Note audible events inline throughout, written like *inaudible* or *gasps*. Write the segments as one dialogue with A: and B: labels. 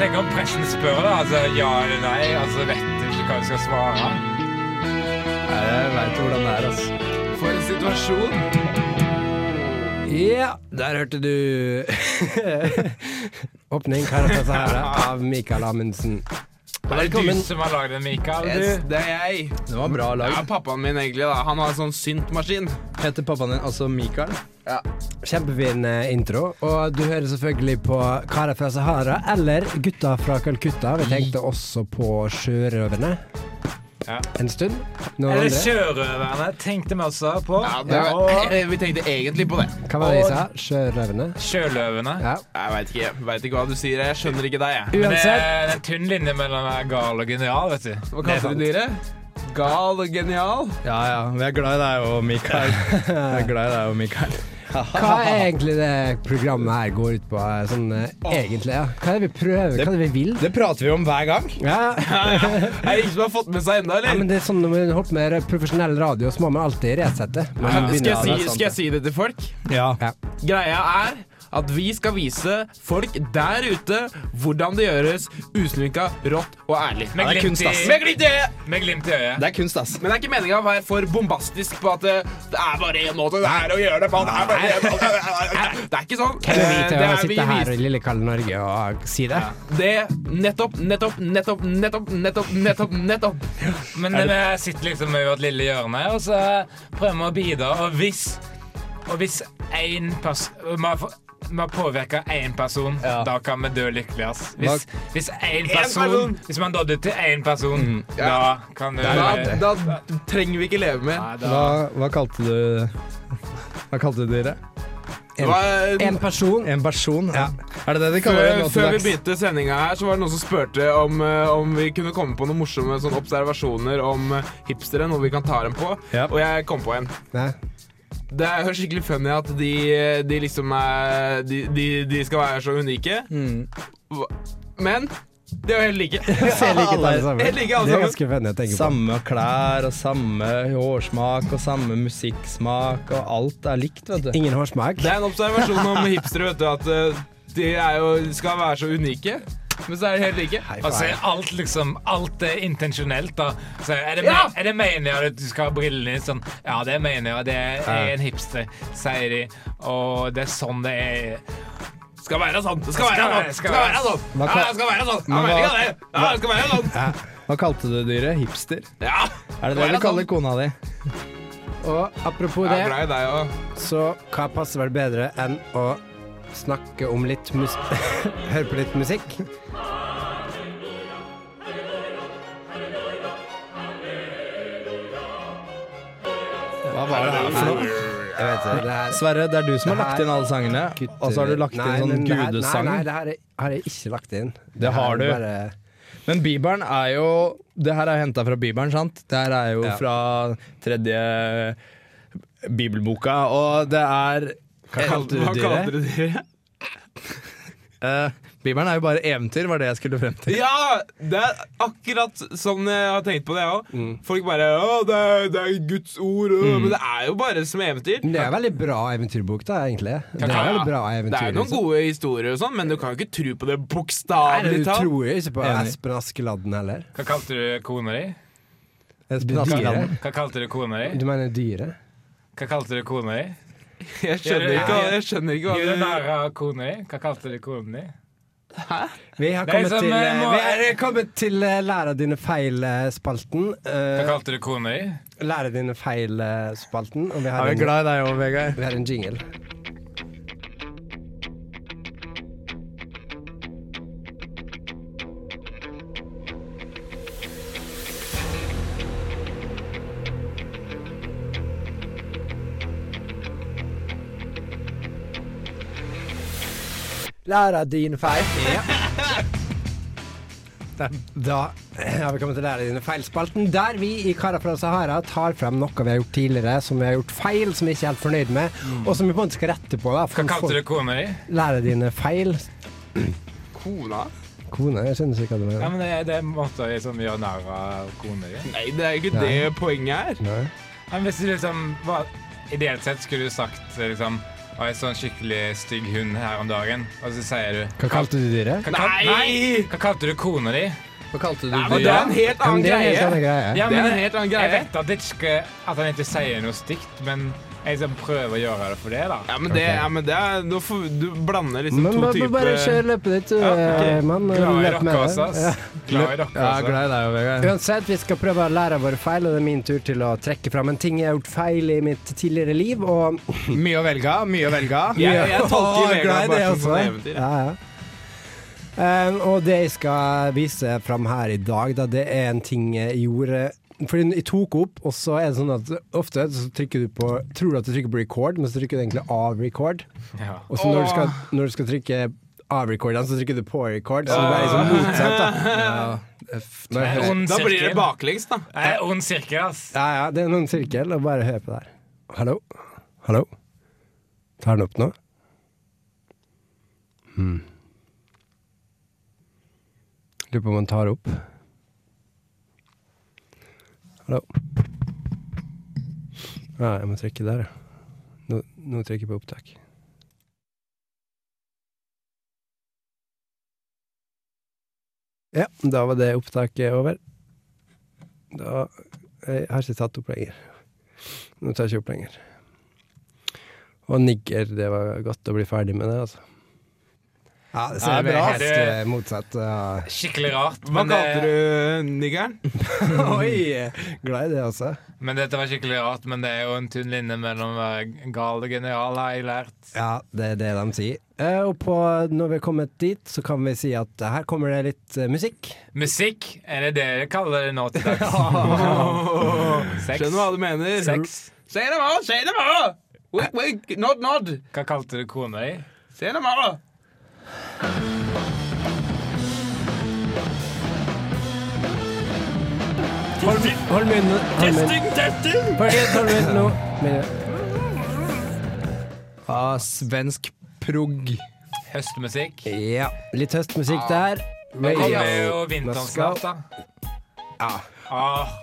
A: Tenk om pressen spør deg, altså ja eller nei, altså vet du ikke hva du skal svare.
B: Jeg veit hvordan det er, altså.
A: For en situasjon!
B: Ja, der hørte du *laughs* Åpning Karatasahara av Mikael Amundsen.
A: Det er
B: Velkommen.
A: du som har lagd den, Mikael.
C: Yes,
A: Du.
C: det er jeg.
B: Det var bra
C: Det
B: lag.
C: er pappaen min, egentlig. da Han har en sånn syntmaskin.
B: Heter pappaen din altså Mikael?
C: Ja.
B: Kjempefin eh, intro. Og du hører selvfølgelig på Karer fra Sahara eller Gutta fra Calcutta. Vi tenkte også på sjørøverne
A: Ja.
B: en stund. Noen
A: Eller
B: andre.
A: sjørøverne tenkte vi også på.
C: det var, Eh,
A: Og
C: Vi tenkte egentlig på det.
B: Hva var det jeg sa? Sjørøverne?
A: sjøløvene.
B: Ja.
C: Jeg veit ikke, vet ikke hva du sier. Jeg skjønner ikke deg, jeg.
A: Men det
B: Uansett.
A: er det er en tynn linje mellom å være gal og genial, vet du.
C: Hva kalte du dyret? Gal og genial?
D: Ja, ja. Vi er glad i deg og
A: *laughs*
D: Mikael. Vi er glad i deg og Mikael.
B: Hva er egentlig det programmet her går ut på, eh, sånn eh, egentlig? Ja. Hva er det vi prøver? Hva er det vi vil?
D: Det prater vi om hver gang.
B: *laughs* Ja.
C: Er det ingen som har fått med seg
B: ja,
C: ennå, eller?
B: men det er sånn Når man holder på med profesjonell radio, så må man alltid resette. Man
C: skal,
B: begynner å- sånn.
C: jeg si, skal jeg si det til folk?
D: Ja.
C: Greia er at vi skal vise folk der ute hvordan det gjøres usminka, rått og ærlig.
A: Med
D: det er
A: glimt
D: kunst,
A: i-
D: ass.
C: Med glimt i øyet!
A: Med glimt i øyet.
D: Det er kunst, ass.
C: Men det er ikke meninga å være for bombastisk på at det, det er bare én måte det er å gjøre det på. Det er, bare en måte. Det er ikke sånn.
B: Hvem er vi
C: Eh,
B: til
C: det
B: å
C: er vi
B: sitte her
C: viser-
B: i lille kalde Norge og eh, si det?
C: Det nettopp, nettopp, nettopp, nettopp, nettopp, nettopp, nettopp.
A: Men vi sitter liksom i vårt lille hjørne og så prøver vi å bidra. Og hvis Og hvis én person Vi har få- vi har påvirka én person, da kan vi dø lykkelig. ass. Hvis, hvis én person,
C: person.
A: Hvis man nådde til én person, da kan du
C: Mm. Da, da trenger vi ikke leve mer.
A: Nei,
D: Hva,
A: da-
D: hva kalte du Hva kalte du dyret?
C: Det var-
B: En person
D: En person? Ja. Er det det de kaller det
C: Før,
D: nå
C: før
D: til
C: vi
D: dags?
C: begynte sendinga her, så var det noen som spurte om, eh, om vi kunne komme på noen morsomme sånne observasjoner om eh, hipstere, noe vi kan ta dem på.
D: Ja.
C: Og jeg kom på en.
B: Nei.
C: Det er jo skikkelig funny at de, de liksom er de, de, de skal være så unike. Hva- Men de er jo helt *laughs* like.
B: Ser like ut alle sammen.
C: Helt like alle
B: Det er
C: sammen.
B: ganske funny å tenke på.
D: Samme klær og samme hårsmak og samme musikksmak, og alt er likt, vet du.
B: Ingen hårsmak.
C: Det er en observasjon om hipstere, vet du, at eh, de er jo, skal være så unike. Men så er de helt like. Altså,
A: og så er alt liksom Alt er intensjonelt, da. Så er det,
C: Ja!
A: me- er det meningen at du skal ha brillene dine sånn Ja, det er meningen, og det er en hipster, sier de. Og det er sånn det er.
C: Skal være sånn. Det skal være sånn. Skal være sånn.
D: Hva
C: Ja,
D: kan-
C: det skal være sånn.
D: Men
C: Jeg mener
D: hva-
C: ikke det. Ja, det skal være sånn.
D: Hva kalte du dyret? Hipster?
C: Ja.
D: Er det det
C: Hva er
D: du
C: det
D: kaller
C: sånn?
D: kona di?
B: Og apropos
C: Jeg er
B: det,
C: glad i deg òg.
B: så hva passer vel bedre enn å snakke om litt mus... *laughs* Høre på litt musikk?
D: Hva var det her for noe?
B: Jeg vet det. det her
D: Sverre, det er du som har lagt inn alle sangene, og så har du lagt
B: Nei,
D: inn sånn
B: men det her-
D: gudesang.
B: Nei, nei, det her er- har jeg ikke lagt inn.
D: Det har
B: her
D: du.
B: er bare-
D: Men Bibelen er jo Det her er henta fra Bibelen, sant? Det her er jo fra tredje bibelboka, og det er
C: Hva kalte du dyret?
D: Eh, Bibelen er jo bare eventyr, var det jeg skulle frem til.
C: Ja! Det er akkurat sånn jeg har tenkt på det, jeg òg. Folk bare Å, det er, det er Guds ord. å», Men det er jo bare som eventyr.
B: Men Det er en veldig bra eventyrbok, da, egentlig. Det er veldig bra
C: Det er
B: eventyr.
C: jo noen
B: liksom.
C: gode historier, og sånn, men du kan jo ikke tro på det
B: Nei,
C: bokstavelig
B: Du
C: talt.
B: tror jo ikke på
D: Enig.
B: Espen Askeladden heller.
A: Hva kalte du kona di?
D: Espen
B: Det
D: Askeladd.
B: dyret.
A: Hva kalte du kona di?
B: Du mener dyret?
A: Hva kalte du kona di?
C: Jeg skjønner ikke, hva- jeg skjønner ikke
A: Gjorde du
C: hva
A: narr av kona di? Hva kalte du kona di?
B: Vi har
A: Det er
B: kommet
A: som,
B: til,
A: eh, må-
B: vi er kommet til eh, Lærer dine eh, feil-spalten.
A: Hva kalte du kona di?
B: Lærer Eh, dine feil-spalten. Og vi
D: Er
B: har,
D: vi
B: en,
D: glad i deg òg, Vegard?
B: vi har en jingle. Lærer dine feil. Da har vi kommet til Lære dine feil-spalten, der vi i Kara fra Sahara tar frem noe vi har gjort tidligere som vi har gjort feil, som vi ikke er helt fornøyd med, og som vi på en måte skal rette på. da
A: Mm. Hva kalte du kona di?
B: Lære dine feil.
C: Kona?
B: Kone, jeg skjønner ikke hva du
A: Ja,
B: mener.
A: men det, det er måter liksom, å gjøre narr av kona di.
C: Nei, det er jo ikke det poenget er.
B: Nei.
A: Men hvis du liksom var Ideelt sett skulle du sagt liksom og en sånn skikkelig stygg hund her om dagen, og så sier du
B: Hva kalte du dyret?
A: hva, kal-
C: Nei!
A: Nei! Hva kalte du kona di?
D: Hva kalte du
C: Nei, men
D: dyret?
C: det er en helt
B: Ja, men
C: annen
B: det er en helt annen
C: greie.
B: greie.
A: Ja,
C: Det er
A: men
C: en helt annen
A: Jeg
C: greie.
A: vet at, det ikke, at han ikke sier noe stygt, men jeg liksom prøver å gjøre det for det, da.
C: Ja, men det, ja, men det er Nå får du blander liksom
B: Men
C: to
B: bare,
C: typer
B: bare kjør løpet ditt, du,
C: Ja, ok.
B: eh, mann.
A: Glad i
B: Løp
A: dere,
B: med
A: altså.
B: det. Ja.
A: ass. Glad i dere,
D: Ja,
A: altså.
D: glad i deg, Vegard.
B: Uansett, vi skal prøve å lære av våre feil, og det er min tur til å trekke fram en ting jeg har gjort feil i mitt tidligere liv. Og
D: Mye å velge av, mye å velge av.
C: Jeg, jeg
B: Åh,
C: tolker
B: glad i
C: Vegard
B: det,
C: bare som
B: altså.
C: sånn eventyr. jeg.
B: Ja, ja. Um, og det jeg skal vise fram her i dag, da, det er en ting jeg gjorde Fordi jeg tok opp, og så er det sånn at ofte så trykker du på Tror du at du trykker på record, men så trykker du egentlig av record.
A: Ja.
B: Og så når du skal, når du skal trykke av recorden, så trykker du på record, så det er liksom motsatt,
C: *laughs*
B: da.
A: Det er en ond
C: Da blir det
A: sirkel.
C: baklengs, da.
A: Det er en ond sirkel, ass.
B: Ja, ja, det er noen sirkel, og bare hør på det her. Hallo? Hallo? Tar den opp nå? Hmm. Lurer på om den tar opp. Hallo? Ja, jeg må trykke der, ja. Nå, nå trykker jeg på opptak. Ja, da var det opptaket over. Da jeg har ikke tatt opp lenger. Nå tar jeg ikke opp lenger. Og nigger, det var godt å bli ferdig med det, altså. Ja, det
D: Ja,
B: ser
D: det er
B: bra.
A: helt,
B: Helt eh, motsatt. ja.
A: Skikkelig rart.
C: Hva
A: Men,
C: kalte
A: det,
C: du niggeren?
B: Oi! Glad i det, altså.
A: men dette var skikkelig rart, men det er jo en tynn linje mellom å være gal og genial, har jeg lært.
B: Ja, det er det de sier. Eh, og på, når vi er kommet dit, så kan vi si at eh, her kommer det litt eh, musikk.
A: Musikk, er det det dere kaller det nå til dags? Sex.
C: Skjønner hva du mener.
A: Sex.
C: Si det hva, si det hva! Wink, wink, nod, nod.
A: Hva kalte du kona di?
C: Si det hva.
B: Hold, hold munnen. Hold munnen. Partiet, hold munnen nå. *laughs* Men-
D: Ah, svensk prog.
A: Høstmusikk.
B: Ja, litt høstmusikk der.
A: Nå kommer
B: Ja.
A: jo vinteren
B: Let's go.
A: snart, da. Ah,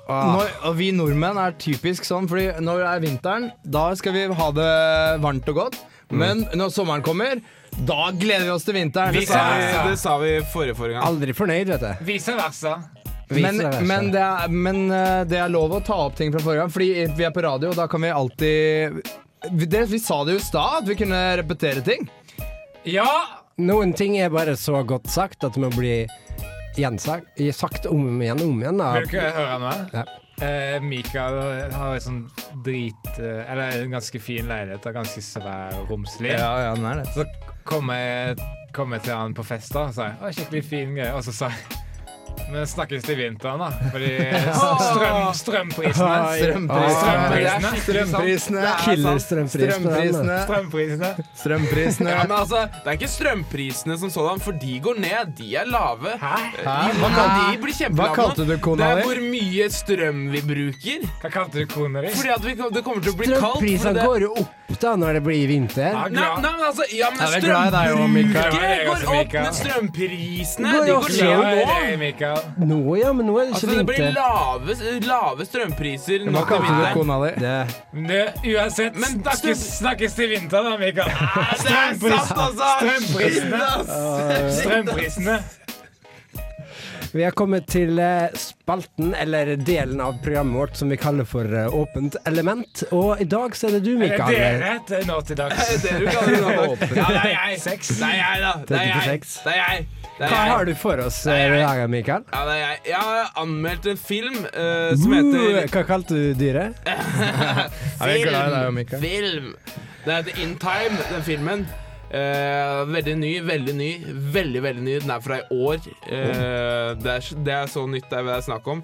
D: Når, og vi nordmenn er typisk sånn, fordi når det er vinteren, da skal vi ha det varmt og godt.
B: Mm.
D: Men når sommeren kommer, da gleder vi oss til vinteren.
A: Vi
C: Det sa
A: Ja,
C: vi,
A: ja.
C: det sa vi forrige forrige gang.
B: Aldri fornøyd, vet du.
A: vice versa.
D: Men,
B: Viser det,
D: men, det er, men eh, det er lov å ta opp ting fra forrige gang, fordi vi er på radio, og da kan vi alltid vi- det, Vi sa det jo i stad, at vi kunne repetere ting.
A: Ja!
B: Noen ting er bare så godt sagt at det må bli gjensagt, sagt om igjen og om igjen.
A: Vil du
B: Da.
A: ikke høre noe?
B: Ja.
A: Eh, Mikael har en sånn drit... eh, Eller en ganske fin leilighet. og Ganske svær og romslig.
D: ja, den er det.
A: Så kom jeg, kom jeg til han på fest da, og sa jeg, «Å, skikkelig fin greie. Og så sa jeg Men snakkes til vinteren, da. Fordi strøm, strømprisene.
D: Strømprisene.
A: Strømprisene.
D: Strømprisene.
B: Killer strømprisen.
D: Strømprisene.
A: Strømprisene.
D: *laughs* Strømprisene.
C: Ja, men altså, Det er ikke strømprisene som sådan, for de går ned. De er lave.
A: Hæ?
D: Hæ?
C: Hva kan de bli
D: Hva
C: kjempelave
D: kalte du
C: nå? Det
D: kona
C: er
D: di?
C: hvor mye strøm vi bruker.
A: Hva kalte du kona di?
C: Fordi at vi, kom- Det kommer til å bli kaldt. fordi
B: Strømprisene
C: det-
B: går jo opp da når det blir vinter.
A: Ja,
C: Nei,
A: glad.
C: nei, men altså, ja, men
D: Jeg er glad i deg også, Mikael.
C: strømbruket går
A: Jeg er glad i deg også,
C: opp,
A: Mikael.
C: men strømprisene
B: Går
C: de
B: jo
C: går
B: også
A: Ja,
C: ned
A: det
C: nå.
A: er det, Mikael.
B: Nå ja, men nå er det
C: Altså,
B: ikke
C: det blir
B: vinter.
C: lave, lave strømpriser nå
D: Hva
C: til
D: kalte du
C: vinteren.
D: kona di?
B: Det,
A: Men det, uansett,
C: Men
A: snakkes,
C: strøm-
A: snakkes til vinteren da, Mikael.
C: Nei, Det er sant, altså!
A: Strømprisene.
C: *laughs* Ass.
A: Strømprisene.
B: vi har kommet til eh, spalten, eller delen av programmet vårt som vi kaller for eh, Åpent element. Og i dag så er det du,
A: Er det
B: Mikael. eh,
A: dere til nå til dags?
C: Det er du kaller det nå.
A: Ja, det er jeg. Sex.
C: Det er jeg, da. Det er jeg.
B: 36.
C: Det er jeg. Det er
B: Hva
C: jeg.
B: har du for oss eh, i dag, Mikael?
C: Ja, det er jeg. Jeg har anmeldt en film eh, som
B: Uh,
C: heter
B: hva kalte du dyret?
D: Er vi glad i deg, Mikael?
C: Film. Den heter In Time, den filmen. Eh, veldig ny, veldig ny. Veldig, veldig ny. Den er fra i år. Eh, det, er, det er så nytt det er snakk om.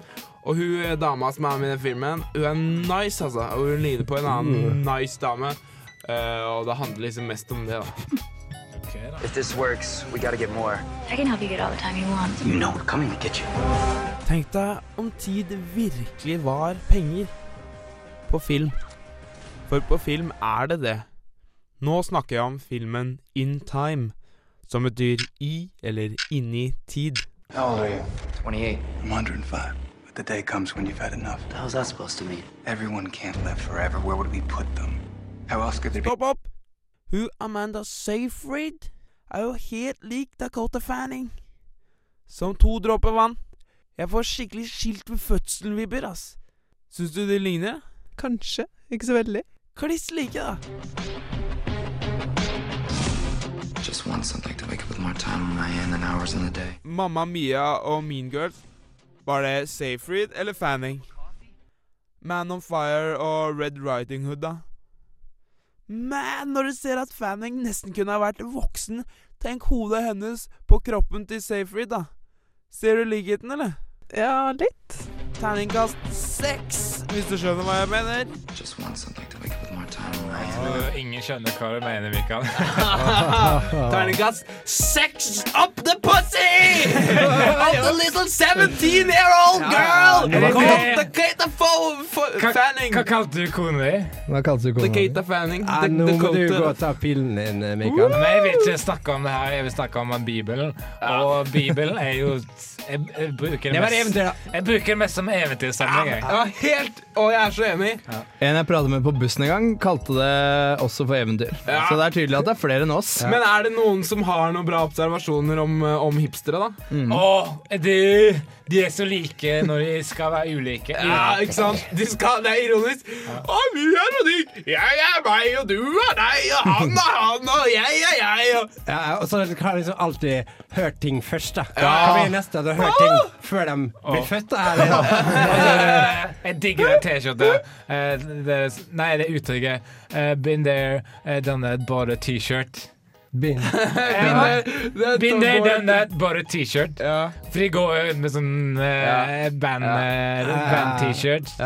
C: Og hun eh, dama som er med i den filmen, hun er nice, altså. Og hun ligner på en annen
D: Mm.
C: nice dame. Eh, og det handler liksom mest om det, da.
E: If this works, we gotta get more.
F: I can help you get all the time you want.
E: You know we're coming to get you.
C: Tenk deg om tid virkelig var penger på film. For på film er det det. Nå snakker jeg om filmen In Time, som betyr i eller inni tid.
E: How old are you? 28.
G: I'm 105. But the day comes when you've had enough.
E: The hell's that supposed to mean?
G: Everyone can't live forever. Where would we put them? How else could there be
C: Stopp opp!
H: Hun Amanda Seyfried er jo helt lik Dakota Fanning. Som to dråper vann. Jeg får skikkelig skilt ved fødselen-vibber, ass. Syns du de ligner? Kanskje. Ikke så veldig. Kliss like, da.
E: Just want something to wake up with more time on my hand than hours in the day.
H: Mamma Mia og Mean Girls. Var det Seyfried eller Fanning? Man on Fire og Red Riding Hood, da? Men når du ser at Fanning nesten kunne ha vært voksen, tenk hodet hennes på kroppen til Seyfried, da. Ser du likheten, eller? Ja, litt. Terningkast seks, hvis du skjønner hva jeg mener.
E: Just want something to wake up with more time on my *gasps* hand.
A: Og ingen skjønner hva du mener, Mikael.
H: Terningkast seks up the pussy! Of the little 17-year-old girl!
A: Ja, ja, ja.
H: Called the Kata Fo... Fo-
A: Hva,
H: Fanning!
A: hva kalte du kona di?
D: Hva kalles du
C: The
D: kona di?
C: Kata Fanning.
B: Nei,
C: The,
B: Nå må du gå
C: Dakota.
B: og ta pillen din, eh, Mikael.
C: Uh.
A: Men jeg vil ikke snakke om det her, jeg vil snakke om Bibelen. Og Bibelen er jo Jeg, jeg bruker det
B: var
A: mest-
B: eventyr, da.
A: Jeg bruker det mest som eventyrstemning, jeg.
C: Ja, helt Og jeg er så enig.
D: En jeg pratet med på bussen en gang, kalte det også for eventyr.
C: Ja.
D: Så det er tydelig at det er flere enn oss.
C: Men er det noen som har noen bra observasjoner om, eh, om hipstere, da?
A: Åh, de, de er så like når de skal være ulike.
C: *laughs* Ja, ikke sant? De skal, det er ironisk. Å, vi er og de. Jeg er meg, og du er deg, og han er han, og jeg er jeg. Og...
B: Ja, og så har de liksom alltid hørt ting først, da. Hva blir det neste? Du har hørt
C: Uh.
B: ting før de blir født, da? Eller?
A: *laughs* Jeg digger den T-skjorta. Eh, det- Nei, det uttrykket. eh, Been there, eh, done that, bought a T-shirt.
B: Begynn.
A: Eh,
C: Det er
A: Been there,
C: Tom Ford.
A: done that, bought a T-shirt.
C: Ja.
A: For de går jo ut med sånn eh, band, eh, band-T-shirt. *laughs*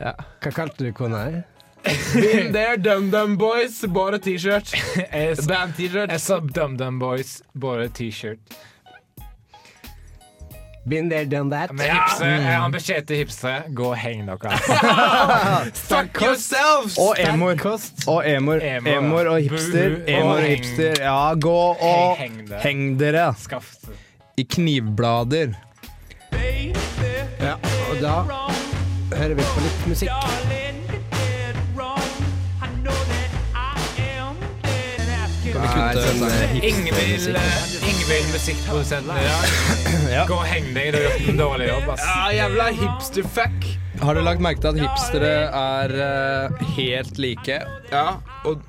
B: Ja. Hva kalte du kona di?
C: Been there, done them boys. Bare t-shirt.
A: Jeg s-
C: Band t-shirt.
A: jeg sa DumDum Boys, bought a T-shirt.
B: Been there, done that.
A: Men hipster, jeg har en beskjed til hipstere. Gå og heng dere.
C: Fuck yourselves!
D: *laughs* Og emoer. Og emoer.
A: Emoer, ja.
D: Emoer og hipster.
A: Buhu.
D: Emoer og
A: Heng.
D: hipster. Ja, gå og
A: Heng- heng dere.
D: heng dere
A: Skaff det.
D: i knivblader.
B: Ja, og da hører vi på litt musikk.
A: Ingen vil, eh, ingen vil musikkprodusenten i dag. Gå og heng deg, du har gjort en dårlig jobb. ass.
C: Ja, jævla hipsterfuck.
D: Har du lagt merke til at hipstere er eh, helt like?
C: Ja, og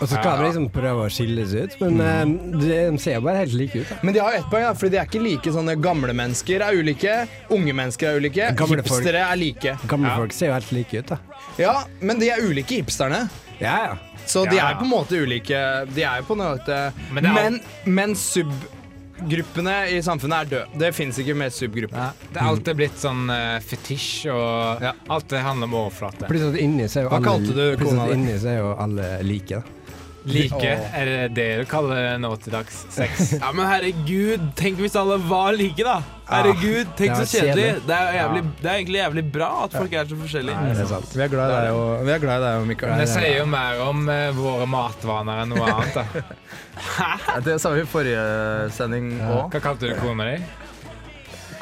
B: Og så skal de liksom prøve å skilles ut, men
D: Mm.
B: eh, de, de ser jo bare helt like ut. Da.
D: Men de har jo ett poeng, da, fordi de er ikke like. sånne Gamle mennesker er ulike. Unge mennesker er ulike.
B: Gamle folk.
D: hipstere er like.
B: Gamle folk ser jo helt like ut, da.
D: Ja, men de er ulike hipsterne.
B: Ja, ja.
D: Så de
A: Ja,
D: er
A: ja.
D: på en måte ulike. De er jo på en måte
A: Men det er-
D: Men, men subgruppene i samfunnet er døde. Det fins ikke mer subgrupper.
A: Det er alltid blitt sånn eh, fetisj, og
D: Ja.
A: alt det handler om overflate.
B: Pluss at inni så er jo
D: Hva
B: alle,
D: kalte du
B: pluss
D: kona
B: at
D: di?
B: inni så er jo alle like, da.
A: Like, er det det du kaller det nå til dags? Sex?
C: Ja, men herregud, tenk hvis alle var like, da. Herregud, tenk
B: det
C: så
B: var
C: kjedelig.
B: kjedelig.
C: Det er, jo jævlig, det er egentlig jævlig bra at folk er så forskjellige.
B: Det er sant.
D: Vi er glad i deg og, vi er glad i deg og Mikael.
A: Det sier jo mer om eh, våre matvaner enn noe annet. da.
D: Det sa vi i forrige sending òg.
A: Hva kalte du kona di?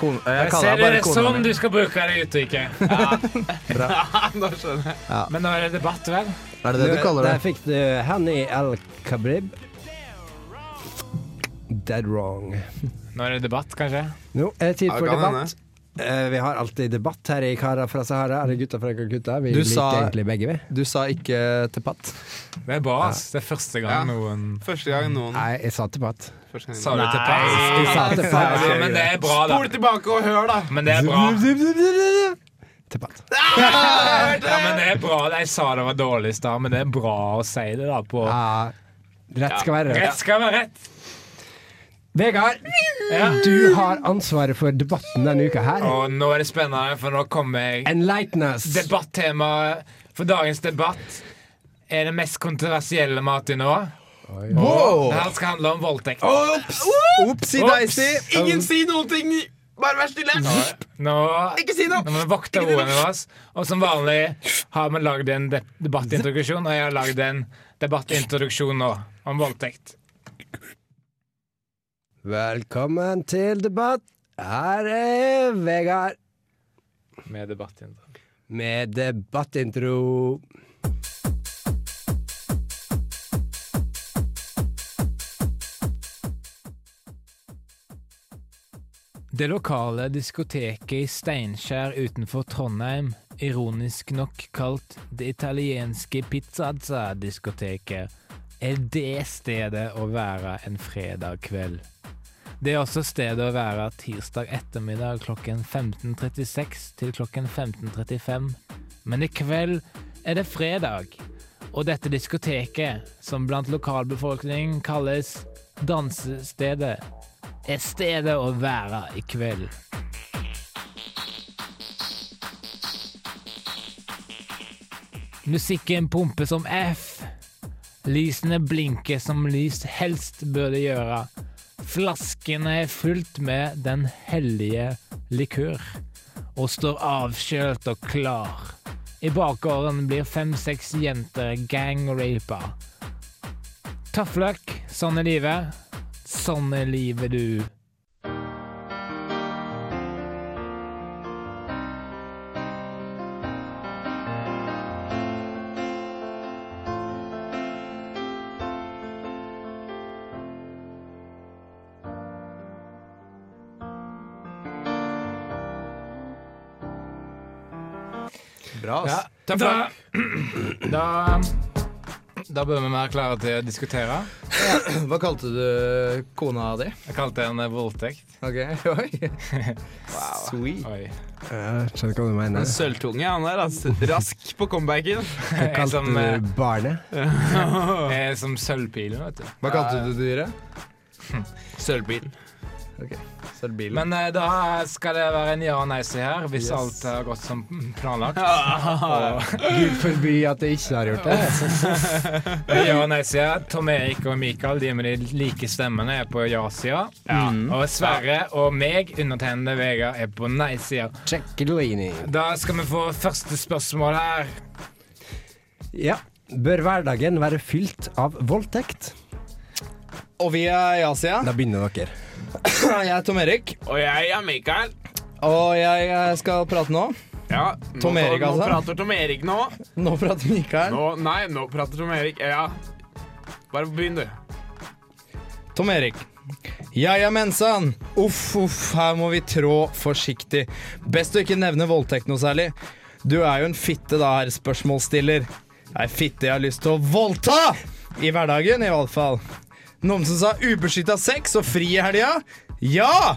D: Jeg
A: Ser
D: kaller
A: du
D: deg
A: det
D: bare
A: er
D: kona
A: sånn
D: mi.
A: du skal bruke det uttrykket? *laughs*
C: Nå skjønner jeg.
A: Men nå er det debatt, vel?
D: Er det det du kaller
B: Der
D: det?
B: fikk du Hani El Kabrib. Dead wrong.
A: Nå er det debatt, kanskje?
B: Nå er det tid
C: Ja,
B: for
C: kan
B: debatt. Eh, vi har alltid debatt her i Karer fra Sahara. Eller gutta fra Calcutta. Vi
D: Du
B: liker
D: sa-
B: egentlig begge, vi.
D: Du sa ikke tepatt.
A: Det er bra. ass. Det er første gang
C: Ja.
A: noen
C: Første gang noen
B: Nei, jeg sa debatt.
C: Første gang
A: sa det til
B: Jeg
A: Pais.
B: sa debatt.
A: Ja, men det er bra, da.
C: Spol tilbake og hør, da.
A: Men det er bra.
B: Debatt.
A: Ja, men det er bra. Jeg sa det var dårlig i stad, men det er bra å si det da på
B: Ja, Ah, rett skal være rett.
A: Rett skal være rett.
B: Vegard,
A: Ja.
B: du har ansvaret for debatten denne uka her.
A: Og nå er det spennende, for nå kommer jeg
B: Enlighten us.
A: Debattemaet for dagens debatt er det mest kontroversielle Martin nå.
D: Wow!
A: Det her skal handle om voldtekt.
D: Opsi daisy!
C: Ingen si noen ting! Bare vær stille!
A: Nå,
C: Ikke si
A: nå
C: noe!
A: må vi vokte ordene våre. Og som vanlig har vi lagd en de debattintroduksjon, og jeg har lagd en debattintroduksjon nå om voldtekt.
B: Velkommen til debatt. Her er Vegard
A: Med debattintro.
B: med debattintro.
A: Det lokale diskoteket i Steinkjer utenfor Trondheim, ironisk nok kalt det italienske pizzazza-diskoteket, er det stedet å være en fredag kveld. Det er også stedet å være tirsdag ettermiddag klokken 15.36 til klokken 15.35, men i kveld er det fredag, og dette diskoteket, som blant lokalbefolkningen kalles dansestedet, er stedet å være i kveld. Musikken pumper som F. Lysene blinker som lys helst burde gjøre. Flaskene er fullt med den hellige likør, og står avkjølt og klar. I bakgården blir fem-seks jenter gang-rapa. Tough luck, sånn er livet. Sånn er livet, du.
D: Bra, ass.
A: Ja, da, da Da bør vi være klare til å diskutere.
D: *clears throat* Hva kalte du kona di?
A: Jeg kalte det en voldtekt.
D: Ok, *laughs* oi. Sweet.
A: Oi.
B: Jeg skjønner ikke hva du
C: En
B: mener.
C: sølvtunge, han der. Altså. Rask på comebacken.
B: Jeg
A: Jeg
B: kalte
A: som, eh,
B: du barnet.
A: jeg er som sølvpilen, vet du.
D: Hva kalte du dyret?
C: Sølvbil.
D: Hm. Sølvbilen.
A: Men eh, da skal det være en ja- og nei-side her, hvis alt har gått som planlagt.
B: Gud forby at jeg ikke har gjort det.
A: Ja og nei-sida. Tom Erik og Mikael de med de like stemmene er på ja-sida. Og Sverre og meg, undertegnede Vegard, er på nei-sida.
B: Check-lini.
A: Da skal vi få første spørsmål her.
B: Ja. Bør hverdagen være fylt av voldtekt?
D: Og vi er ja-sida.
B: Da begynner dere.
D: Jeg er Tom Erik,
C: Og jeg er Mikael.
D: og jeg eh, skal prate nå.
C: Ja,
D: Tom
C: nå,
D: Erik, altså.
C: Nå prater Tom Erik nå.
D: Nå prater Mikael.
C: nå. Nei, nå prater Tom Erik. Ja. Bare begynn, du.
D: Tom Erik. Ja, ja, mensan. Uff, uff, her må vi trå forsiktig. Best å ikke nevne voldtekt noe særlig. Du er jo en fitte da, herr spørsmålsstiller. Ei fitte jeg har lyst til å voldta! I hverdagen, i hvert fall. Noen som sa ubeskytta sex og fri i helga? Ja!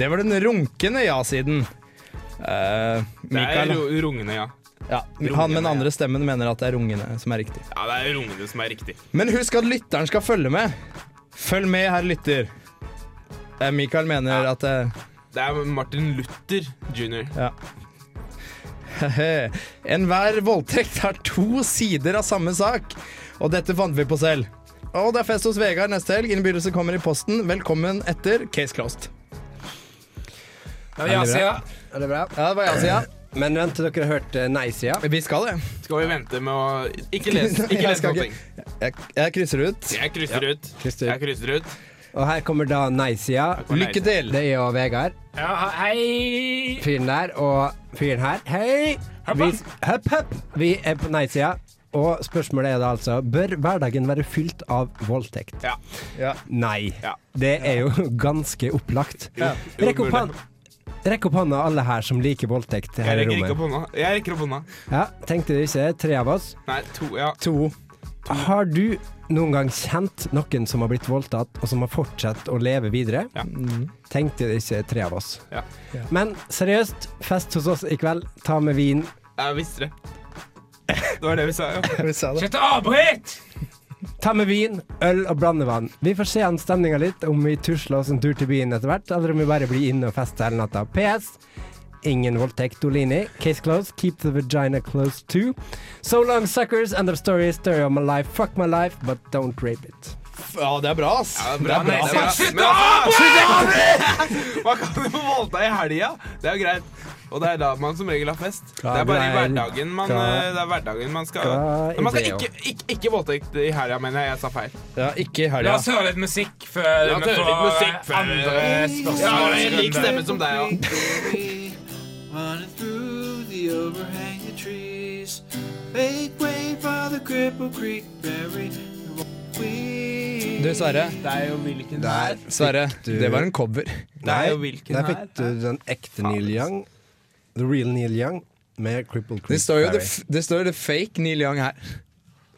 D: Det var den runkende ja-siden. Eh,
C: Det er
D: Mikael,
C: ro rungende, ja.
D: ja, han med den andre stemmen mener at det er rungende som er riktig.
C: Ja, det er rungende som er riktig.
D: Men husk at lytteren skal følge med. Følg med, herr lytter. Eh, Mikael mener at eh,
C: Det er Martin Luther jr.
D: hehe, eh, *laughs* Enhver voldtekt har to sider av samme sak. Og dette fant vi på selv. Og det er fest hos Vegard neste helg. Innbydelse kommer i posten. Velkommen etter. Case closed.
A: Da er ja-sida.
B: Er det bra?
D: Ja, det var jeg, Sia.
B: Men vent til dere har hørt eh, nei-sida.
D: Vi skal det.
C: Skal vi vente med å Ikke les, ikke
D: Jeg
C: les
D: skal
C: noe.
D: Jeg, jeg krysser ut.
C: Jeg krysser ut.
B: Krysser ut.
C: Jeg krysser ut.
B: Og her kommer da nei-sida.
D: Lykke til.
B: Det er jo Vegard,
A: Ja, hei!
B: fyren der, og fyren her. Hei! Vi, høpp, høpp. Vi er på nei-sida. Og spørsmålet er da altså Bør hverdagen være fylt av voldtekt?
C: Ja.
D: Ja.
B: Nei.
C: Ja.
B: Det er jo *laughs* ganske opplagt.
C: Jo,
B: Rekk opp
C: burde.
B: hånda. Rekk opp hånda, alle her som liker voldtekt
C: Jeg
B: her i
C: rekker ikke
B: rommet.
C: opp hånda. Jeg rekker opp hånda.
B: Ja, tenkte dere ikke, tre av oss.
C: Nei, to Ja.
D: To.
B: Har du noen gang kjent noen som har blitt voldtatt, og som har fortsatt å leve videre?
C: Ja.
B: Tenkte det ikke tre av oss.
C: Ja.
B: Men seriøst, fest hos oss i kveld. Ta med vin.
C: Jeg visste det. Det var det vi sa, ja.
D: Vi sa det.
A: Slutt å avbryte!
B: Ta med vin, øl og blandevann. Vi får se an stemninga litt, om vi tusler oss en tur til byen etter hvert, eller om vi bare blir inne og fester hele natta. PS. Ingen voldtekt, Dolini. Case closed. Keep the vagina closed too. So long, suckers. End of story. Story of my life. Fuck my life, but don't rape it.
D: Ja, det er bra, ass.
C: Ja, bra,
D: Det er bra.
C: nei,
A: Slutt
C: men
A: å avbryte!
C: *laughs* Man kan jo voldta i helga. Det er jo greit. Og det er da man som regel har fest. det er bare i
B: Glad-
C: hverdagen man,
B: glad-
C: eh, det er hverdagen man skal
B: glad i
C: Men man skal
B: det,
C: ikke, ikke, ikke voldtekt i helga, mener jeg. Jeg sa feil.
D: Ja, ikke i
A: La
D: helga.
A: oss høre litt musikk før
C: La oss
A: vi
C: høre litt
A: får
C: musikk før- eh,
A: andre
C: Ja,
A: spørsmål.
C: jeg liker stemmen som deg, ja.
I: Running through the overhanging trees. Make way for the Cripple Creek Berry. We
D: Du, Sverre.
C: Det er jo hvilken
B: Der.
C: her.
D: Sverre,
B: du-
D: det var en cover.
C: Det er jo hvilken
B: der
C: her.
B: fikk du den ekte Neil Young. The real Neil Young med Cripple
D: Det
B: Creek
D: står jo
B: Ferry.
D: the, f- det står jo the fake Neil Young her.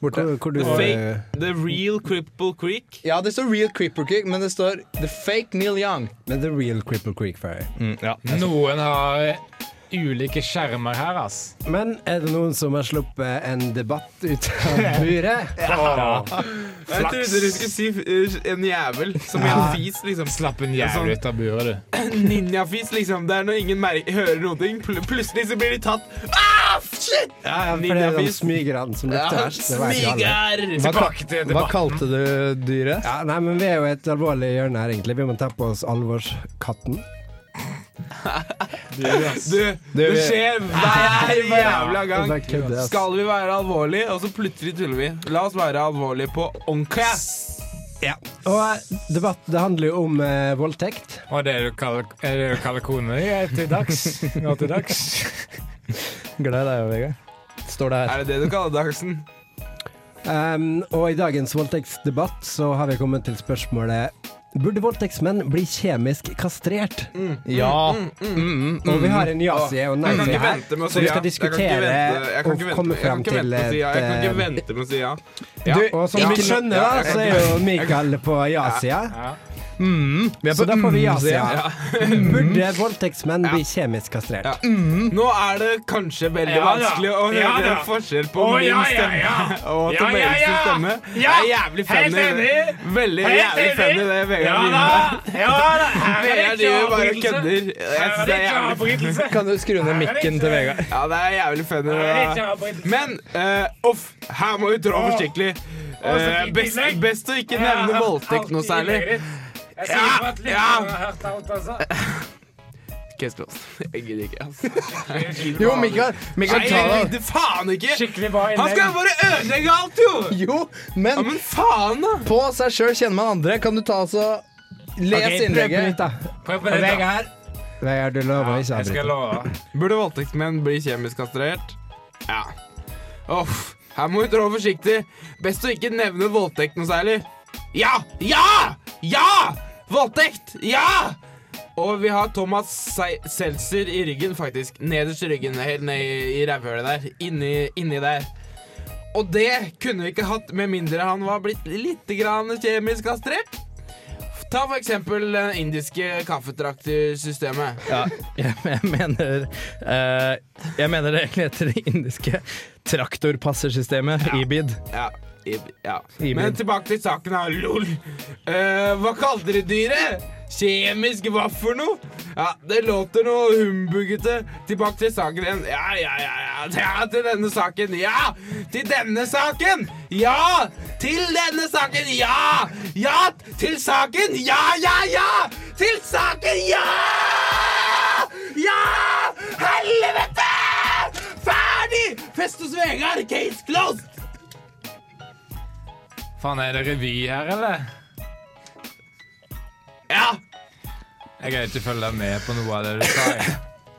B: Borte. Hvor, hvor du,
C: The fake-
B: eh,
C: The Real Cripple Creek.
D: Ja, det står real Creeper Kick, men det står the fake Neil Young.
B: med The real Cripple Creek Ferry.
A: Noen har ulike skjermer her, ass.
B: Men er det noen som har sluppet en debatt ut
C: *laughs*
B: av buret?
C: Jeg trodde du skulle si eh, en jævel. Som i en fis, liksom.
A: Slapp en jævel ut av buret, du.
C: *clears throat* Ninjafis, liksom. Det er når ingen mer hører noen ting. Pl plutselig så blir de tatt. Ah, shit!
B: Ja, for det er de
C: Ninjafis.
B: smygerne som lukter
C: Ja,
B: verst. Det vet jo alle.
C: Smiger!
D: Hva, ka-
A: Tilbake til
D: hva
A: debatten.
D: kalte du dyret?
B: Ja, nei, men vi er jo et alvorlig hjørne her, egentlig. Vi må ta på oss alvorskatten.
C: Du, det
D: vi-
B: *laughs*
C: skjer hver jævla gang.
B: Det er kødde, ass.
C: Skal vi være alvorlige, og så plutselig tuller vi. La oss være alvorlige på ordentlig.
B: Og eh, debatt, det handler jo om eh, voldtekt.
A: Og det du kaller, er det du kaller kona di er til dags. Nå til dags.
D: Glad i deg, Vegard. Står det her.
C: Er det det du kaller dagsen?
B: Em, Ehm, og i dagens voldtektsdebatt så har vi kommet til spørsmålet Burde voldtektsmenn bli kjemisk kastrert?
D: Ja.
B: Og vi har en ja-side og
C: Mm. Jeg kan
B: nei-side
C: ikke
B: her,
C: vente med å
B: så
C: si
B: vi skal
C: ja. Jeg kan ikke
B: diskutere
C: vente- jeg kan
B: og
C: ikke vente-
B: komme
C: jeg kan
B: fram
C: ikke
B: til
C: vente med å si ja. Jeg kan ikke
B: et
C: vente med å si ja.
D: Du,
B: eh, Og som vi
D: ikke-
B: skjønner,
C: ja,
B: da,
C: jeg
B: så
C: kan
B: er jo Mikael på ja-sida,
A: Ja.
D: Mm, vi er på Mm.
B: så da får vi
D: mm-sida.
B: ja-sida. Burde voldtektsmenn bli kjemisk kastrert?
C: Ja. Nå er det kanskje veldig
A: Ja, da.
C: vanskelig å høre
A: Ja, da.
C: forskjell på
A: Å,
C: min
A: ja, ja,
C: stemme
A: ja.
C: *laughs* og
A: Ja,
C: Tom
A: ja,
C: Eriks
A: ja.
C: stemme.
A: Ja.
C: Jeg er jævlig
A: Helt
C: funny.
A: enig.
C: Veldig
A: Helt
C: jævlig
A: enig.
C: funny det
A: Ja da!
C: Vegard driver med.
A: Ja da! Her er
C: *laughs*
A: det ikke
C: Vegard driver bare og
A: avbrytelse.
C: kødder. Jeg
A: Her
C: synes
A: er
C: det
A: det
C: er
A: ikke
C: jævlig
A: avbrytelse.
D: Kan du skru ned
A: Nei, det er
D: mikken
A: ikke-
D: til Vegard?
C: Ja, det er jævlig funny.
A: Her er det ikke
C: det.
A: avbrytelse.
C: Men eh, uff, her må vi trå forsiktig. Eh,
A: fikk
C: best,
A: tillegg.
C: best å ikke nevne
A: Jeg har hørt
C: voldtekt noe
A: alt i
C: særlig.
A: innlegget ditt. Jeg sier
C: Ja,
A: bare at lytterne
C: ja.
A: har hørt alt,
C: *laughs*
A: altså.
C: Case closed. Jeg gidder ikke, altså.
D: Jo, Mikael,
C: Nei,
D: Mikael ta
C: jeg
D: det.
C: gidder faen ikke!
A: Skikkelig bra
C: Han
A: innlegg.
C: skal bare ødelegge alt, jo!
D: Jo,
C: Ja,
D: men
C: men faen, da!
D: på seg sjøl kjenner man andre. Kan du ta altså Les
B: Ok, prøv på nytt,
D: innlegget.
B: da.
A: Prøv på det, da.
D: Vegard.
B: Vegard, du lover å ikke
A: Jeg skal
B: avbryte.
A: love.
C: Burde voldtektsmenn bli kjemisk kastrert? Ja. Uff, her må vi trå forsiktig. Best å ikke nevne voldtekt noe særlig. Ja! Ja! Ja! Voldtekt! Ja! Og vi har Thomas Se- Seltzer i ryggen, faktisk. Nederst i ryggen, helt ned i- i rævhølet der. Inni, inni der. Og det kunne vi ikke hatt med mindre han var blitt litt grann kjemisk kastrert. Ta for eksempel det indiske kaffetraktersystemet.
D: Ja, jeg, jeg mener eh, Jeg mener det egentlig heter det indiske traktorpassersystemet, IBID.
C: Ja. i- ja.
D: I min.
C: Men tilbake til saken her. Lol. Eh, hva kalte dere dyret? Kjemisk hva for noe? Ja, Det låter noe humbuggete. Tilbake til saken igjen. Ja, ja, ja, ja. ja. Til denne saken. Ja! Til denne saken! Ja! Til denne saken! Ja! Ja! Til saken! Ja, ja, ja! Til saken! Ja! Ja! Helvete! Ferdig! Fest hos Vegard. Case closed!
A: Faen, er det revy her, eller?
C: Ja!
A: Jeg greier ikke å følge med på noe av det du sa. jeg.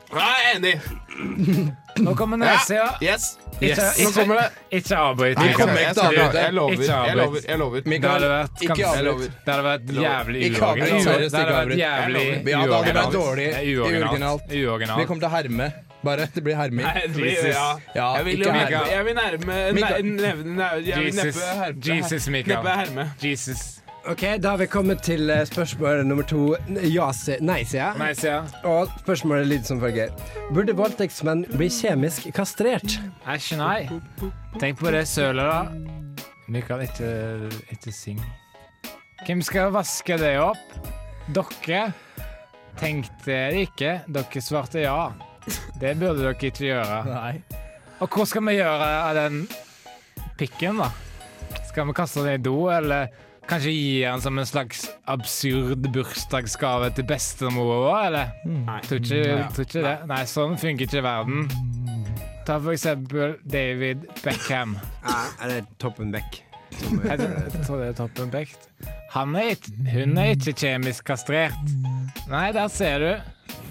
C: Jeg er enig.
A: Nå kommer nedsida.
C: Yes.
A: Ikke,
C: Nå
A: ikke,
C: kommer det.
A: ikke avbryt.
D: Nei, kom
A: Mikael.
D: igjen.
C: Jeg skal-
D: avbryte.
C: Jeg lover.
A: Ikke
C: Jeg
A: avbryt.
C: lover. Jeg lover.
A: Det hadde vært,
D: Ikke
A: kanskje-
D: avbryt.
A: det hadde vært jævlig
D: Ikke
A: uoriginalt.
D: avbryt.
A: Det
D: Seriøst,
A: hadde
D: ikke
A: vært
D: avbryt.
A: jævlig
D: Ja, det hadde vært dårlig.
A: Det er Uoriginalt.
D: Uoriginalt. Vi
A: Uoriginalt.
D: kommer til å herme. Bare. Det blir herming.
C: Nei, det blir-
A: Jesus.
C: ja.
D: Ja,
C: Jeg vil jo
D: ikke
A: Mikael.
C: nærme Jeg vil nærme
D: Mikael.
C: nei, nevne- nei, Jeg vil
A: Jesus.
C: neppe herme.
A: Jesus, Mikael.
C: Neppe herme.
A: Jesus.
B: Ok, Da har vi kommet til eh, spørsmål nummer to, ja-sida. Nei-sida.
A: Nei, sier jeg.
B: Og spørsmålet lyder som følger. Burde voldtektsmenn bli kjemisk kastrert?
A: Æsj, nei. Tenk på det sølet, da. Mikael, ikke, ikke syng. Hvem skal vaske det opp? Dere tenkte det ikke. Dere svarte ja. Det burde dere ikke gjøre.
D: Nei.
A: Og hva skal vi gjøre av den pikken, da? Skal vi kaste den i do, eller kanskje gi den som en slags absurd bursdagsgave til bestemora vår, eller?
C: Nei.
A: Tror ikke, tror ikke det. Mm. Nei, sånn funker ikke verden. Ta for eksempel David Beckham.
B: Ja, eller toppen vekk.
A: Jeg tror det er toppen pekt. Han er ikke, hun er ikke kjemisk kastrert. Nei, der ser du.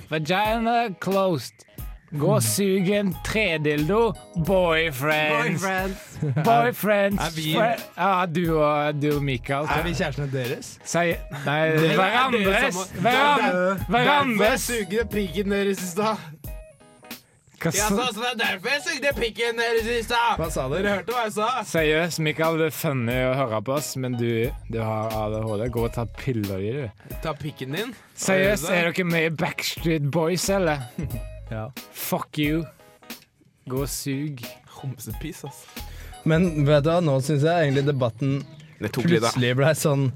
A: Vagina closed. Gå og sug en tredildo. Boyfriends. Boyfriends.
D: Er vi-
A: Fre- Ja, du og, du og Mikael.
D: Er vi kjærestene deres?
A: Sier Nei,
C: er dere
A: hverandres.
C: sammen.
A: Hverandre-
C: Derfor
A: Hverandres.
C: sugde pikken deres i stad.
A: Hva
C: Ja, så,
A: så-
C: så det er derfor jeg sugde pikken deres i stad.
D: Hva sa
C: Dere
D: dere?
C: hørte hva jeg sa?
A: Seriøst, Mikael, det er funny å høre på oss, men du, du har ADHD. Gå og ta piller i det.
C: Ta pikken din.
A: Seriøst, er dere med i Backstreet Boys, eller?
D: Ja.
A: Fuck you. Gå og sug.
C: Homsepiss, ass.
D: Men vet du hva, nå syns jeg egentlig debatten
H: Det tok litt, da.
D: plutselig blei sånn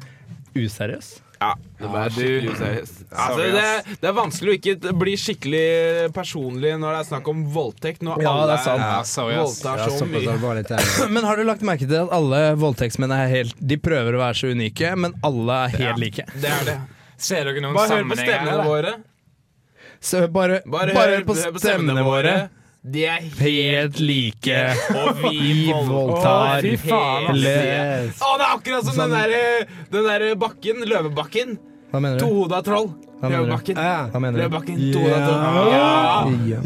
D: useriøs.
H: Ja.
C: Det, ble skikkelig useriøst. altså,
H: Sorry, ass.
C: det, det er vanskelig å ikke bli skikkelig personlig når det er snakk om voldtekt. Når
D: Ja,
C: alle
D: det er sant.
A: Ja, sorry, ass.
C: voldtar
B: Ja,
C: så
B: såpass
C: mye.
B: alvorlig til jeg.
D: Men har du lagt merke til at alle voldtektsmenn er helt De prøver å være så unike, men alle er helt like.
C: Det er det.
A: Ser dere noen
C: Bare hør på
A: sammenhenger?
C: stemmene
A: eller?
C: våre.
D: Så bare, bare,
C: Bare,
D: hør på
C: hør
D: stemmene våre.
C: De er
D: Helt like.
C: Og vi
D: *laughs* Vi voldtar
A: Å, fy faen, ass.
D: hele
C: Å, det er akkurat som den derre den der eh, bakken. Løvebakken.
D: Hva mener du?
C: Tohoda troll.
D: Hva mener du?
C: Løvebakken.
B: Ja. Ah.
D: Hva mener du?
C: Løvebakken. Tohoda troll. Ja.
B: Ja.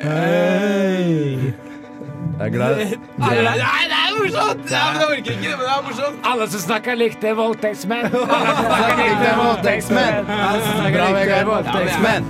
C: Hey.
D: Jeg er glad.
C: Nei, nei, nei, det er morsomt! Ja, men jeg orker ikke det, men det er morsomt.
A: Alle som snakker likt, er voldtektsmenn. Alle som snakker likt, er voldtektsmenn. Alle som snakker
D: Bra,
A: likt, er
D: Vegard.
A: voldtektsmenn.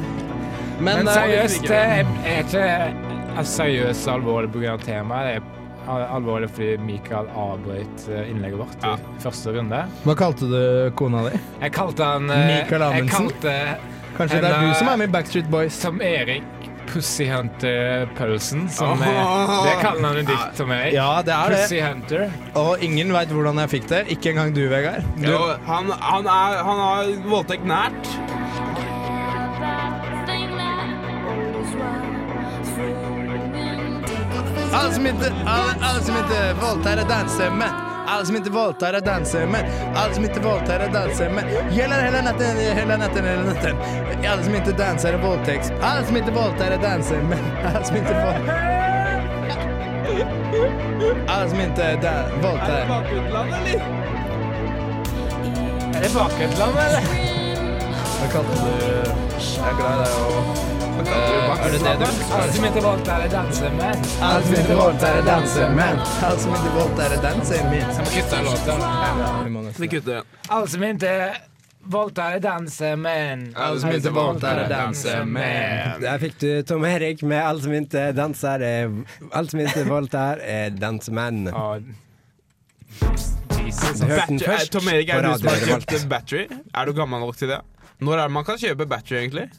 D: Men, men
A: Men
D: eh,
A: seriøst, det er er ikke eh, er seriøst alvorlig pga. temaet. Det er al- alvorlig fordi Mikael avbrøt eh, innlegget vårt i første runde.
D: Hva kalte du kona di?
A: Jeg kalte han eh,
D: Mikael
A: Jeg
D: Amundsen?
A: kalte
D: Kanskje det er du som er med i Backstreet Boys?
A: Tom Erik Pussy Hunter Paulsen. Som er,
H: Åh.
A: det kaller han i dikt, Tom Erik.
D: Ja, det er det.
A: Pussy Hunter.
D: Og ingen veit hvordan jeg fikk det. Ikke engang du, Vegard.
C: Jo, han, han, er, han har voldtekt nært.
D: Alle som ikke, alle, alle som ikke voldtar, er dansemenn. Alle som ikke voldtar, er dansemenn. Alle som ikke voldtar, er dansemenn. Gjelder hele natten, hele natten, hele natten. Alle som ikke danser, er voldtekts. Alle som ikke voldtar, er dansemenn. Alle som ikke voldtar Alle som ikke da- voldtar
C: Bakutland, eller?
A: Er det bakgrunnsland, eller?
D: Hva kalte du Jeg er glad i deg og Eh, Er det det du
A: Alle som ikke valgte her, er dansemenn.
D: Alle som ikke voldtar, er dansemenn. Alle som ikke voldtar, er dansemenn.
A: Som kutter låten.
D: Vi må nesten-
C: Vi kutter den.
A: Alle som ikke valgte her, er dansemenn.
D: Alle som ikke voldtar, er dansemenn.
B: Der fikk du Tom Erik med 'Alle som ikke danser, er Alle som ikke voldtar, er dansemenn'.
A: Ja. Jesus.
B: Du hørte den
C: Battery, Ah. eh,
B: først
C: Tom Erik, er
B: på
C: det du som har
B: Radio Revolt.
C: kjøpt battery? Er du gammel nok til det? Når er det man kan kjøpe battery, egentlig?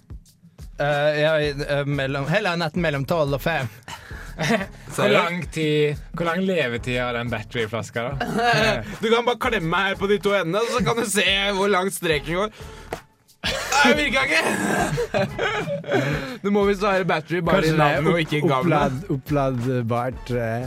D: Eh, jeg, eh, mellom, hele natten mellom 12 og 5.
A: Hvor lang, tid, hvor lang levetid har den batteryflaska, da?
C: Du kan bare klemme meg her på de to endene, så kan du se hvor langt streken går. Nei, det virka ikke! Du må visst være battery, bare i
B: Kanskje det er
C: navnet og ikke i gavnet.
B: opplad, oppladbart eh,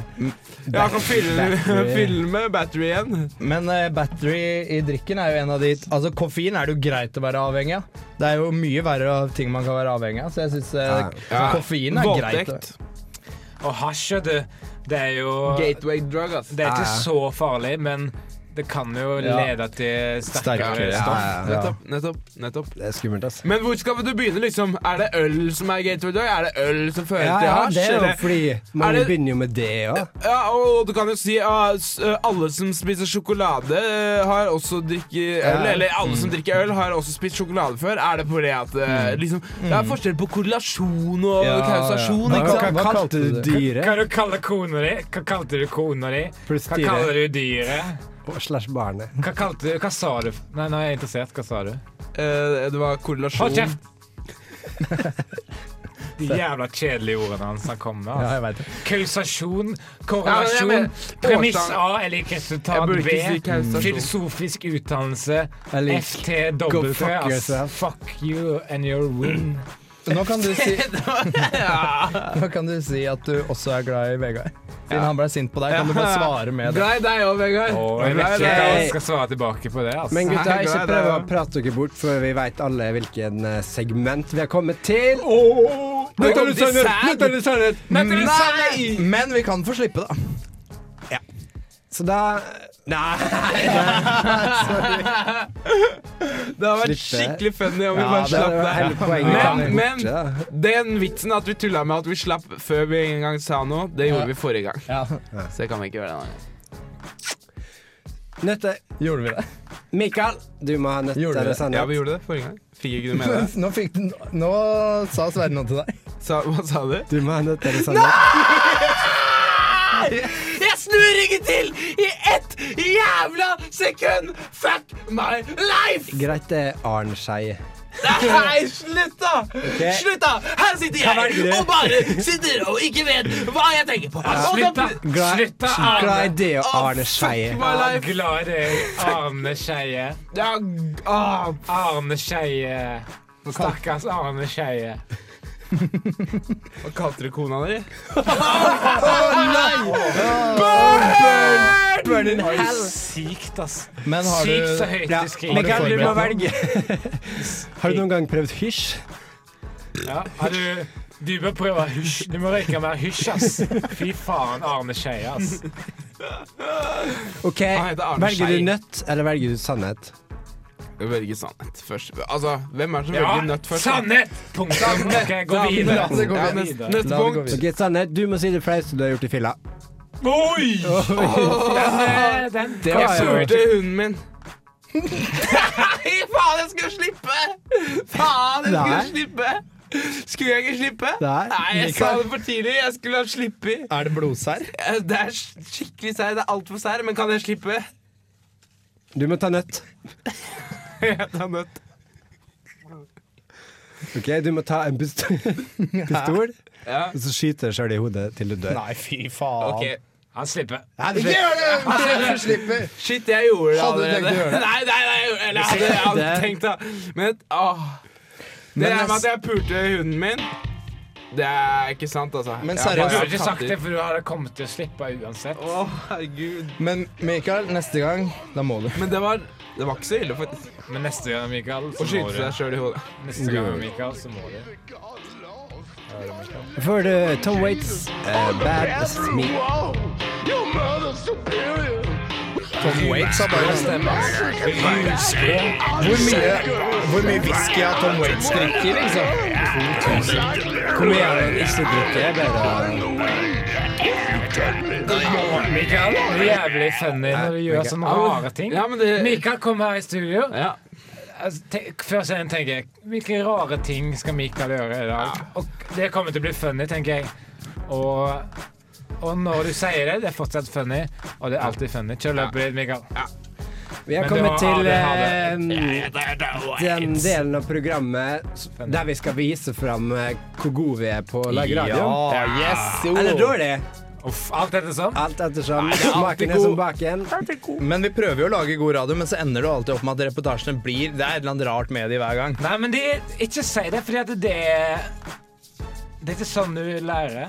C: Ja, jeg kan fylle,
B: Battery.
C: fylle med battery igjen.
D: Men eh, battery i drikken er jo en av de Altså, koffein er det jo greit å være avhengig av. Det er jo mye verre av ting man kan være avhengig av, så jeg syns eh,
C: Ja.
D: koffein er greit.
C: Voldtekt.
A: Og hasj, vet du, det er jo
C: Gateway Ah. drug, ass.
A: Det er ikke så farlig, men det kan jo
D: Ja.
A: lede til sterkere
D: Sterkere, ja.
A: stoff.
B: ja, ja.
C: Nettopp, nettopp, nettopp.
B: Det er skummelt, altså.
C: Men hvor skal du begynne, liksom? Er det øl som er gateway drug? Er det øl som fører
B: Ja,
C: til
B: ja,
C: hasj?
B: det er jo
C: eller-
B: fordi mange
C: Er det-
B: begynner jo med det òg.
C: Ja, og du kan jo si at alle som spiser sjokolade, eh, har også drikket øl.
B: Ja.
C: Eller alle som drikker øl, har også spist sjokolade før. Er det fordi at eh, liksom, Det er forskjell på korrelasjon og
D: Ja,
C: kausasjon,
D: ja.
C: ikke
B: Hva,
C: sant?
B: hva kalte du
A: Hva
B: dyret?
A: du kaller kona di? Hva kalte du kona di?
B: Pluss
A: Hva
B: dyret.
A: kaller du dyret?
B: Og Slash barnet.
A: Hva kalte du Hva sa du? Nei, nå er jeg interessert. Hva sa du?
C: Eh, det var korrelasjon
A: Hold
C: *laughs*
A: kjeft! De jævla kjedelige ordene hans han kom med.
D: Ja,
A: Altså.
D: jeg vet det.
A: Kausasjon,
C: Ja,
A: korrelasjon,
C: men jeg mener,
A: premiss A
C: årsak-
A: er lik
C: Jeg
A: resultat
C: burde
A: B.
C: ikke si kausasjon.
A: Filosofisk utdannelse.
B: Jeg liker- Go
A: FTW.
B: fuck
A: ass.
B: yourself.
A: Fuck you and your win.
D: Nå kan, du *laughs* si, *laughs* nå kan du si at du også er glad i Vegard. Siden han ble sint på deg, kan du bare svare med det.
C: Glad i deg òg, Vegard.
A: Og jeg vet
C: Glad i
A: ikke hva
C: deg.
A: jeg skal svare tilbake på det. Altså.
B: Men gutta,
C: Nei,
B: ikke
C: glad i
B: prøv å
C: deg.
B: prate dere bort, for vi veit alle hvilken eh, segment vi har kommet til.
C: Nå kom de sæd.
B: sannhet!
A: Dette er sant!
D: Men vi kan få slippe, da.
B: Så da Nei! Sorry.
C: *laughs* Det har vært
B: Slipp det.
C: skikkelig funny om vi
B: Ja,
C: bare
B: det
C: slapp
B: var
C: det.
B: hele poenget.
C: Men-
B: Ja.
C: men-
B: Borte, da.
C: Den vitsen at vi tulla med at vi slapp før vi engang sa noe, det gjorde
D: Ja.
C: vi forrige gang.
D: Ja,
C: Så det kan vi ikke gjøre denne gangen.
B: Nøtte.
D: Gjorde vi det?
B: Mikael, du må ha nøtt
D: Gjorde
B: eller
D: det?
B: sannhet.
C: Ja, vi gjorde det forrige gang. Fikk ikke du med *laughs* deg det?
D: Nå, fikk den, nå sa Sverre noe til deg.
C: Sa- Hva sa du?
B: Du må ha nøtt eller sannhet.
C: Jeg snur ikke til i ett jævla sekund! Fuck my life!
B: Greit, det er Arnskei.
C: Nei, slutt, da! Slutt, da! Her sitter jeg og bare sitter og ikke vet hva jeg tenker på. Og
A: Slutt, da!
C: da-
A: Slutt, da, Arne!
B: Glad idé og
C: Å,
B: Arnskei.
C: fuck my life.
A: Glad i deg, Arne Skeie.
C: Ja, g- ah,
A: Arne Skeie. Stakkars Arne Skeie.
C: Hva kalte du kona di?
B: Burn in
A: Oi,
B: hell.
A: sykt, ass.
D: Men har
A: Sykt så
D: du
A: høyt
B: Ja,
A: du skriver.
B: Mikael, du må
D: forberedt
B: velge.
C: *laughs*
B: Har du noen gang prøvd hysj?
A: Ja, har du, du bør prøve å hysj. Du må røyke mer hysj, ass. Fy faen, Arne Skeie, ass.
B: Ok,
C: Han heter Arne
B: Velger
C: Skei.
B: du nøtt, eller velger du sannhet?
C: Velge sannhet først. Altså, hvem er det som
A: Ja,
C: velger nøtt først? da?
A: sannhet! Punktum. Ok, gå videre.
D: det gå
A: Ja,
D: videre.
A: videre.
C: Neste
D: La det gå
C: punkt.
D: videre.
B: Ok, sannhet, Du må si det flaueste du har gjort i filla.
A: Oi! Den, eh, den jeg
B: var jo-
A: spurte.
C: Spurte hunden min. Nei, faen, jeg skulle slippe! Faen, jeg skulle
B: Nei.
C: slippe! Skulle jeg ikke slippe?
B: Nei,
C: jeg sa det for tidlig. Jeg skulle ha sluppet.
D: Er det blodsær?
C: Eh, Det er skikkelig sær. Det er altfor sær, men kan jeg slippe?
B: Du må ta nøtt.
C: Jeg tar nøtt.
B: Ok, Du må ta en pist *laughs* pistol,
C: Ja.
B: og så skyte deg sjøl i hodet til du dør.
D: Nei, fy faen.
C: Ok.
A: Han slipper.
B: Nei, det
D: Ikke
B: skjer.
D: gjør det! Ikke du slipper.
C: Shit, jeg gjorde det
D: Hadde du
C: allerede.
D: tenkt å gjøre det?
C: Nei, nei, nei, jeg- eller hadde jeg hadde tenkt det. Men åh. Det
D: Men
C: er med
D: nes-
C: at jeg pulte hunden min. Det er ikke sant, altså.
D: Men
C: Jeg
D: seriøst,
A: Du
C: bare-
D: har
A: burde ikke sagt det, for du hadde kommet til å slippe uansett.
C: Å, herregud.
D: Men Mikael, neste gang, da må du.
C: Men det var, det var ikke så ille, faktisk.
A: Men neste gang, Mikael,
C: Å
A: så må du.
C: skyte seg sjøl i hodet.
A: Neste gang, Mikael, så må du.
B: For du Tom Waits, eh, Bad As Me.
D: Tom Waits har bare Hvor mye, hvor mye whisky har Tom Waits drikker, liksom?
B: Kom igjen, ikke drikk. Jeg ber deg.
A: Mikael, det er jævlig funny når du gjør sånne rare ting.
C: Ja, men det-
A: Mikael kom her i studio.
C: Ja.
A: Altså, te- Før scenen tenker jeg hvilke rare ting skal Mikael gjøre i dag? Og det kommer til å bli funny, tenker jeg. Og, og når du sier det, det er fortsatt funny, og det er alltid funny. Kjør løpet ditt, Mikael.
B: Vi har
A: Men det
B: kommet
A: var-
B: til
A: ja,
B: eh,
A: det-
B: den delen av programmet s- der vi skal vise fram eh, hvor gode vi er på å lage radio.
D: Ja, yes, jo.
B: Eller dårlig,
A: Uff, alt dette sånn.
B: alt ettersom. Smaken er som baken.
D: Men vi prøver jo å lage god radio, men så ender det jo alltid opp med at reportasjene blir Det er et eller annet rart med de hver gang.
A: Nei, men det, ikke si det, fordi at det er Det er ikke sånn du lærer.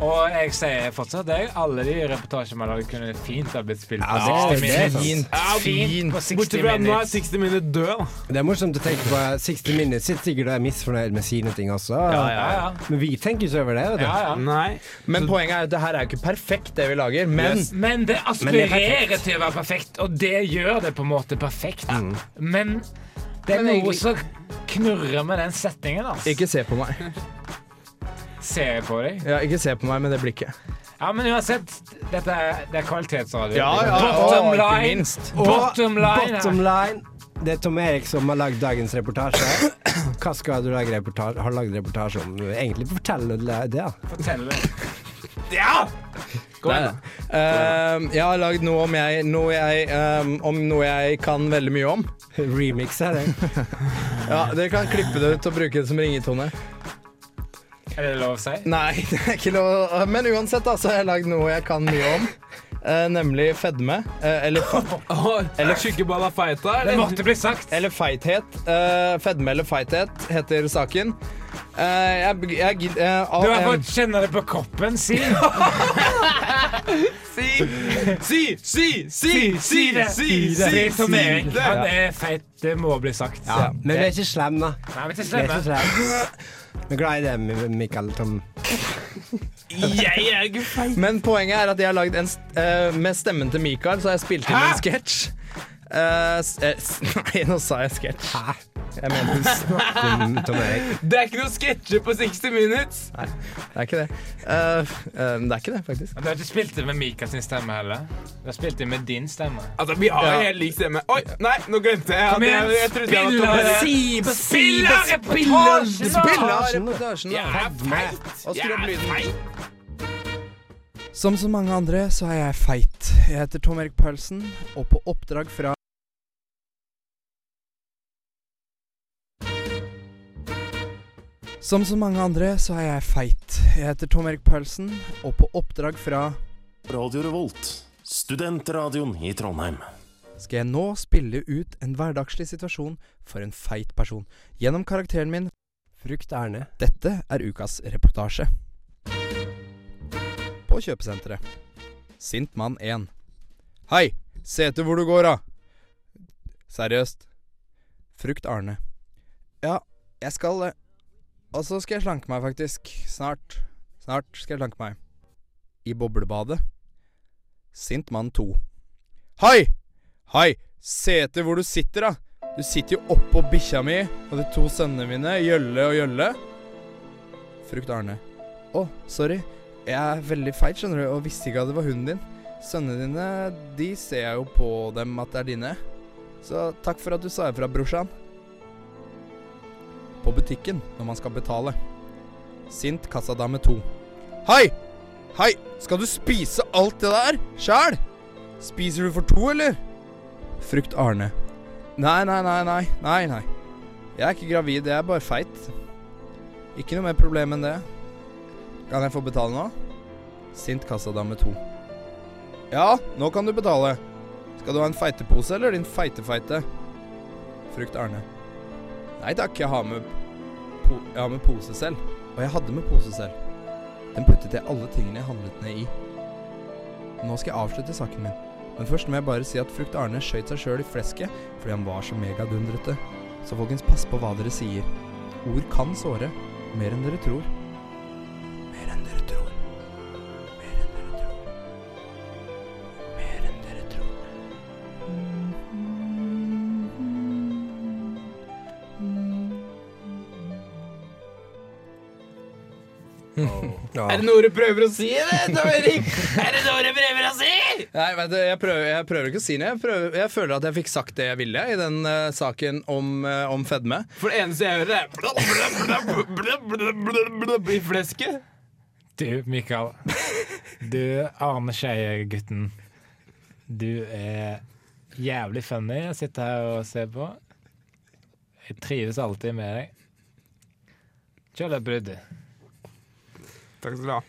A: Og jeg sier fortsatt det. Alle de reportasjene man lagde, kunne fint ha blitt spilt på
B: Ja, det
A: 60
B: er sant.
A: minutter.
D: Fint,
A: Fint på
D: fint.
A: 60
C: Bortsett fra at nå er
A: minutter.
C: 60 minutter død, da.
B: Det er morsomt å tenke på eh, 60 Minutes. Sitter sikkert og er misfornøyd med sine ting også.
A: Ja, ja.
B: Men vi tenker ikke over det. vet du.
A: ja, ja.
C: Nei.
D: Men poenget er at det her er jo ikke perfekt, det vi lager. Men
A: Men det
B: det er
A: aspirerer til å være perfekt, og det gjør det på en måte perfekt. Men det er
D: Men
A: noe
D: egentlig-
A: som knurrer med den setningen. Altså.
D: ikke se på meg.
A: Ser jeg på deg?
D: Ja, ikke se på meg med det blikket.
A: Ja, men uansett, dette er, det er kvalitetsradio.
D: Ja, ja,
A: bottom,
D: og ikke
A: line,
D: minst.
B: Og
A: bottom line! her.
B: bottom line, Det er Tom Erik som har lagd dagens reportasje. Hva skal du lage reportasje, har lagd reportasje om? Egentlig fortell det. da.
A: Fortell det.
C: Gå
D: Nei,
C: igjen, da.
D: nei. Ehm, jeg har lagd noe, om jeg, noe jeg, ehm, om noe jeg kan veldig mye om.
B: Remix er det.
D: Ja, Dere kan klippe det ut og bruke det som ringetone.
A: Er det lov å si?
D: Nei, *laughs* det er ikke lov. å- Men uansett, da, så har jeg lagd noe jeg kan mye om. Eh, nemlig fedme. Eh, eller,
C: *laughs*
D: fa-
C: Åh, Eller tjukke balafaita,
A: Det
C: eller?
A: måtte bli sagt.
D: eller feithet. Eh, fedme eller feithet heter saken. Eh, jeg jeg, jeg,
A: Du har fått kjenne det på kroppen, si.
C: Si! Si, si, si, si, si, si,
A: Si Tom Erik.
C: si
A: Han er feit. Det må bli sagt.
B: Ja, men vi er ikke slem, da.
A: Nei, men til
B: Vi er ikke
A: slemme.
B: slem. Vi er glad i det, Mi- Mikael Tom.
C: Jeg er ikke feit.
D: Men poenget er at jeg har lagd en st- eh, Med stemmen til Mikael så har jeg spilt inn
C: Hæ?
D: en sketsj. Eh, s- eh, s- *laughs* nei, nå sa jeg sketsj.
B: Hæ? Jeg mener Tom, Tom Erik.
C: Det er ikke noen sketsjer på 60 Minutes.
D: Det er ikke det. Eh, eh, det er ikke det, faktisk.
A: Du har ikke spilt det med Mika sin stemme heller. Du har spilt det med din stemme.
C: Altså, vi har
D: Ja.
C: jo helt lik stemme. Oi, nei, nå glemte jeg. at
A: Kom igjen,
C: jeg, jeg trodde jeg
A: spill
C: var
A: av det.
C: Tom-
D: Sibe,
A: Spiller reportasjen! da!
D: reportasjen!
C: Jeg er feit.
D: Og skru
C: Jeg
D: opp
C: er
D: lyden.
C: feit.
D: Som så mange andre, så er jeg feit. Jeg heter Tom Erik Paulsen, og på oppdrag fra Som så mange andre, så er jeg feit. Jeg heter Tom Erik Paulsen, og på oppdrag fra
J: Radio Revolt, studentradioen i Trondheim.
D: skal jeg nå spille ut en hverdagslig situasjon for en feit person gjennom karakteren min
B: Frukt Erne.
D: Dette er ukas reportasje. På kjøpesenteret. Sint mann 1. Hei, se etter hvor du går, da. Seriøst. Frukt Arne. Ja, jeg skal det. Og så skal jeg slanke meg, faktisk. Snart. Snart skal jeg slanke meg. I boblebadet. Sint mann 2. Hei! Hei, se etter hvor du sitter, da. Du sitter jo oppå bikkja mi og de to sønnene mine, Gjølle og Gjølle. Frukt Arne. Å, sorry. Jeg er veldig feit, skjønner du, og visste ikke at det var hunden din. Sønnene dine, de ser jeg jo på dem at det er dine. Så takk for at du sa ifra, brorsan. På butikken, når man skal betale. Sint kassadame 2. Hei! Hei! Skal du spise alt det der sjæl? Spiser du for to, eller? Frukt Arne. Nei, nei, nei, nei, nei, nei. Jeg er ikke gravid, jeg er bare feit. Ikke noe mer problem enn det. Kan jeg få betale nå? Sint kassadame 2. Ja, nå kan du betale. Skal du ha en feitepose eller din feitefeite? Frukt Arne. Nei takk, jeg har med, po jeg har med pose selv. Og jeg hadde med pose selv. Den puttet jeg alle tingene jeg handlet ned i. Nå skal jeg avslutte saken min. Men først må jeg bare si at Frukt Arne skjøt seg sjøl i flesket fordi han var så megadundrete. Så folkens, pass på hva dere sier. Ord kan såre. Mer enn dere tror. Mer enn dere tror. Mer enn dere tror. Mer enn dere tror.
B: Ja.
C: Er det noe du prøver å si, det, Tom Erik? Er det noe du prøver å si?
D: Nei, vet du, jeg prøver, jeg prøver ikke å si noe. Jeg, prøver, jeg føler at jeg fikk sagt det jeg ville i den eh, saken om, eh, om fedme.
C: For det eneste jeg hører, er blub, blub, blub, blub, blub, blub, blub, i flesket.
A: Du, Mikael. Du, Arne Skeie-gutten. Du er jævlig funny å sitte her og se på. Jeg trives alltid med deg. Kjør deg brudd.
C: Takk skal du ha.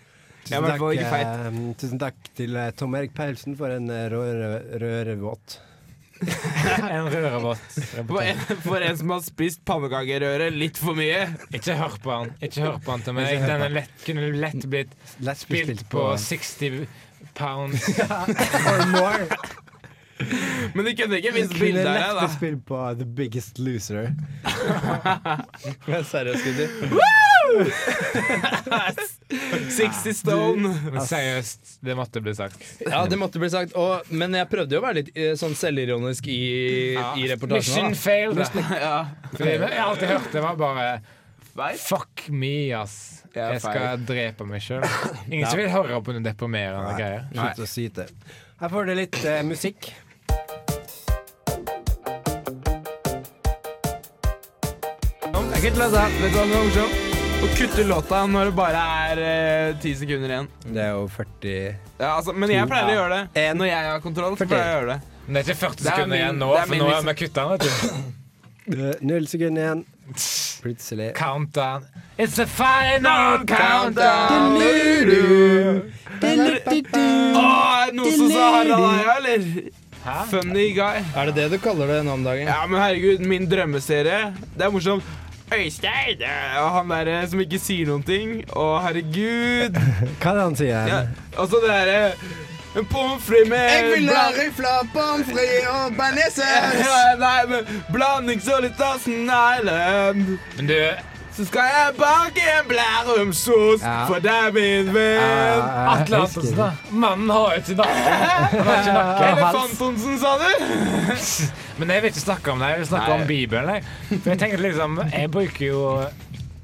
C: Jeg er
B: Tusen
C: i hvert
B: takk,
C: fall ikke feit.
B: eh, tusen takk til eh, Tom Erik Paulsen for en eh, røre- rørevåt.
A: En rørevåt.
C: For en, for en som har spist pannekakerøre litt for mye.
A: Ikke hør på han. Ikke hør på han til meg.
B: Ikke hør på
A: Den
B: han.
A: er lett, kunne lett blitt
B: Let's be
A: spilt på 60 pounds.
B: Or more. *laughs*
C: Men de kunne ikke vist
B: Kunne
C: bilde av
B: lett
C: deg,
B: blitt
C: da.
B: spilt på eh, The Biggest Loser.
D: Men seriøst, gutter.
C: 60 Stone.
A: Men seriøst, det måtte bli sagt.
D: Ja, det måtte bli sagt. Og, men jeg prøvde jo å være litt eh, sånn selvironisk i, i
A: Mission
D: reportasjen. også,
A: failed. *laughs*
C: Ja.
A: Fordi jeg har alltid hørt det var bare
C: Feit.
A: Fuck me, ass.
C: Ja,
A: Jeg skal drepe meg sjøl. Ingen som vil høre på noen deprimerende greier.
B: Slutt å syte. Her får dere litt eh, musikk.
C: Jeg kan ikke lese her. Vet du hva som er morsomt? Å kutte låta når det bare er eh, 10 sekunder igjen.
B: Det er jo 40
C: Ja, altså, men jeg pleier å gjøre det.
B: En.
C: Eh, Når jeg har kontroll, så pleier jeg å gjøre det.
A: Men det er ikke 40
C: Det er
A: sekunder
C: min-
A: igjen nå,
C: det er
A: for
C: min
A: nå har
C: liksom-
A: vi kutta den. vet du.
B: Eh, Null sekunder igjen. Plutselig.
A: Countdown. It's the final countdown!
C: Å, er det noen som sa Harald Eia, eller?
A: Hæ?
C: Funny guy.
D: Er det det du kaller det nå om dagen?
C: Ja, men herregud, min drømmeserie. Det er morsomt. Øystein! eh, Og han derre som ikke sier noen ting. Å, herregud.
B: Hva er det han sier?
C: Ja, og så det derre
H: eh, En pommes frites med
D: Jeg vil ha
H: bland-
D: rifla, pommes frites og bearnéssaus.
H: *laughs* Ja, Nei, men blandings og litt av sneglen.
A: Men du,
C: Eh,
H: Så skal jeg bake en blærumsost
D: Ja.
H: for deg, min venn.
A: Atle Antonsen, da. Mannen har jo ikke nakke. Han har
C: *laughs*
A: ikke nakke.
H: Elefantonsen, sa du?
A: Men jeg vil ikke snakke om det. Jeg vil snakke om Bibelen. Jeg. For jeg tenkte liksom Jeg bruker jo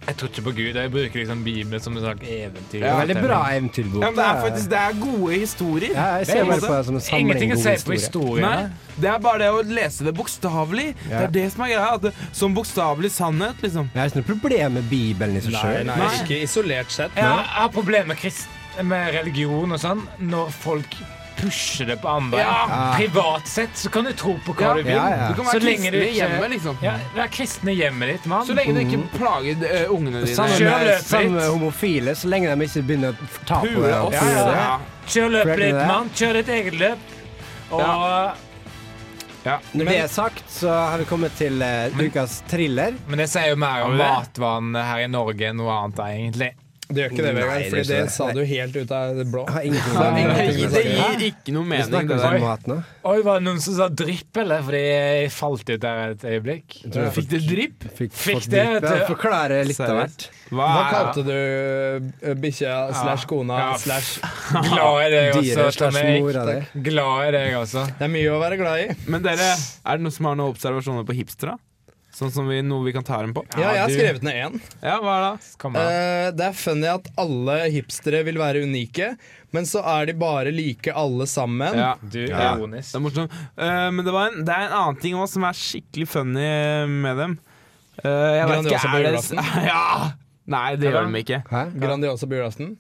A: Jeg tror ikke på Gud. Jeg bruker liksom Bibelen som en slags eventyr.
B: Ja, veldig bra
H: Ja,
B: eventyrbok.
H: men det er faktisk det er gode historier.
B: Ja, jeg ser
A: Det er altså
B: bare på det som en samling
A: Ingenting å
B: god
A: si på
B: historie.
A: historien.
H: Nei, det er bare det å lese det bokstavelig. Det er det som er greia. At det, som bokstavelig sannhet, liksom.
B: Jeg har ikke noe problem med Bibelen i seg sjøl.
D: Nei, ikke isolert sett.
A: Jeg har, jeg har problemer med, krist- med religion og sånn når folk pusher det på andre. Privat sett så kan du tro på hva
C: Ja.
A: du vil.
B: Ja, ja.
C: Du kan
A: Så
C: være
A: lenge du
C: kristen i
A: ikke-
C: hjemmet, liksom.
A: Ja, Vær kristen i hjemmet ditt, mann.
C: Så lenge du ikke plager eh, ungene dine.
A: Kjør
B: Sammen med,
A: løpet ditt.
B: sammen med homofile, så lenge de ikke begynner å ta på
C: Pule
B: det. og
C: oss.
B: pule det.
C: Ja.
A: Kjør løpet ditt,
B: Pregnant er.
A: mann. Kjør ditt eget løp. Og
B: Når det er sagt, så har vi kommet til eh, ukas thriller.
A: Men det sier jo mer om
B: det?
A: matvanene her i Norge enn noe annet, egentlig.
D: Det gjør ikke det,
B: Nei,
D: Vegard,
B: det
D: for
B: gjør
D: det
B: ikke det.
D: sa du helt ut av det blå.
B: Jeg har ingenting med
C: Nei, Det
B: ingenting med det.
C: gir ikke noe
B: Vi
C: mening, det
B: snakker
C: der.
B: om mat nå.
A: Oi, var det noen som sa dripp, eller? Fordi jeg falt ut der et øyeblikk.
B: Jeg tror jeg
C: Fikk det drypp?
B: fikk,
A: Fikk
B: fått
A: det,
B: dype-
A: vet du.
B: Forklare litt av
D: Seriøst.
B: hvert.
C: Hva
D: Hva
C: er
D: kalte du eh, bikkja slash kona slash
A: Glad i deg også,
B: Dyret
A: Tom
B: slash
A: Erik.
B: mora di.
A: Glad i deg også.
D: Det er mye å være glad i.
C: Men dere, er det noen som har noen observasjoner på hipstere? Sånn som vi, noe vi kan ta dem på?
D: Ja, jeg har
A: du-
D: skrevet ned én.
C: Ja, hva er det?
A: Kom her.
D: Eh, det er funny at alle hipstere vil være unike, men så er de bare like alle sammen.
C: Ja.
A: Du er
C: Ja. Det
A: ironisk.
C: er morsomt. Eh, men det, var en, det er en annen ting også som er skikkelig funny med dem. Eh, jeg vet
D: Grandiosa
C: ikke,
D: på
C: er det
D: julaften?
C: *laughs* Ja! Nei, det gjør de ikke.
B: Hæ?
D: Grandiosa på julaften.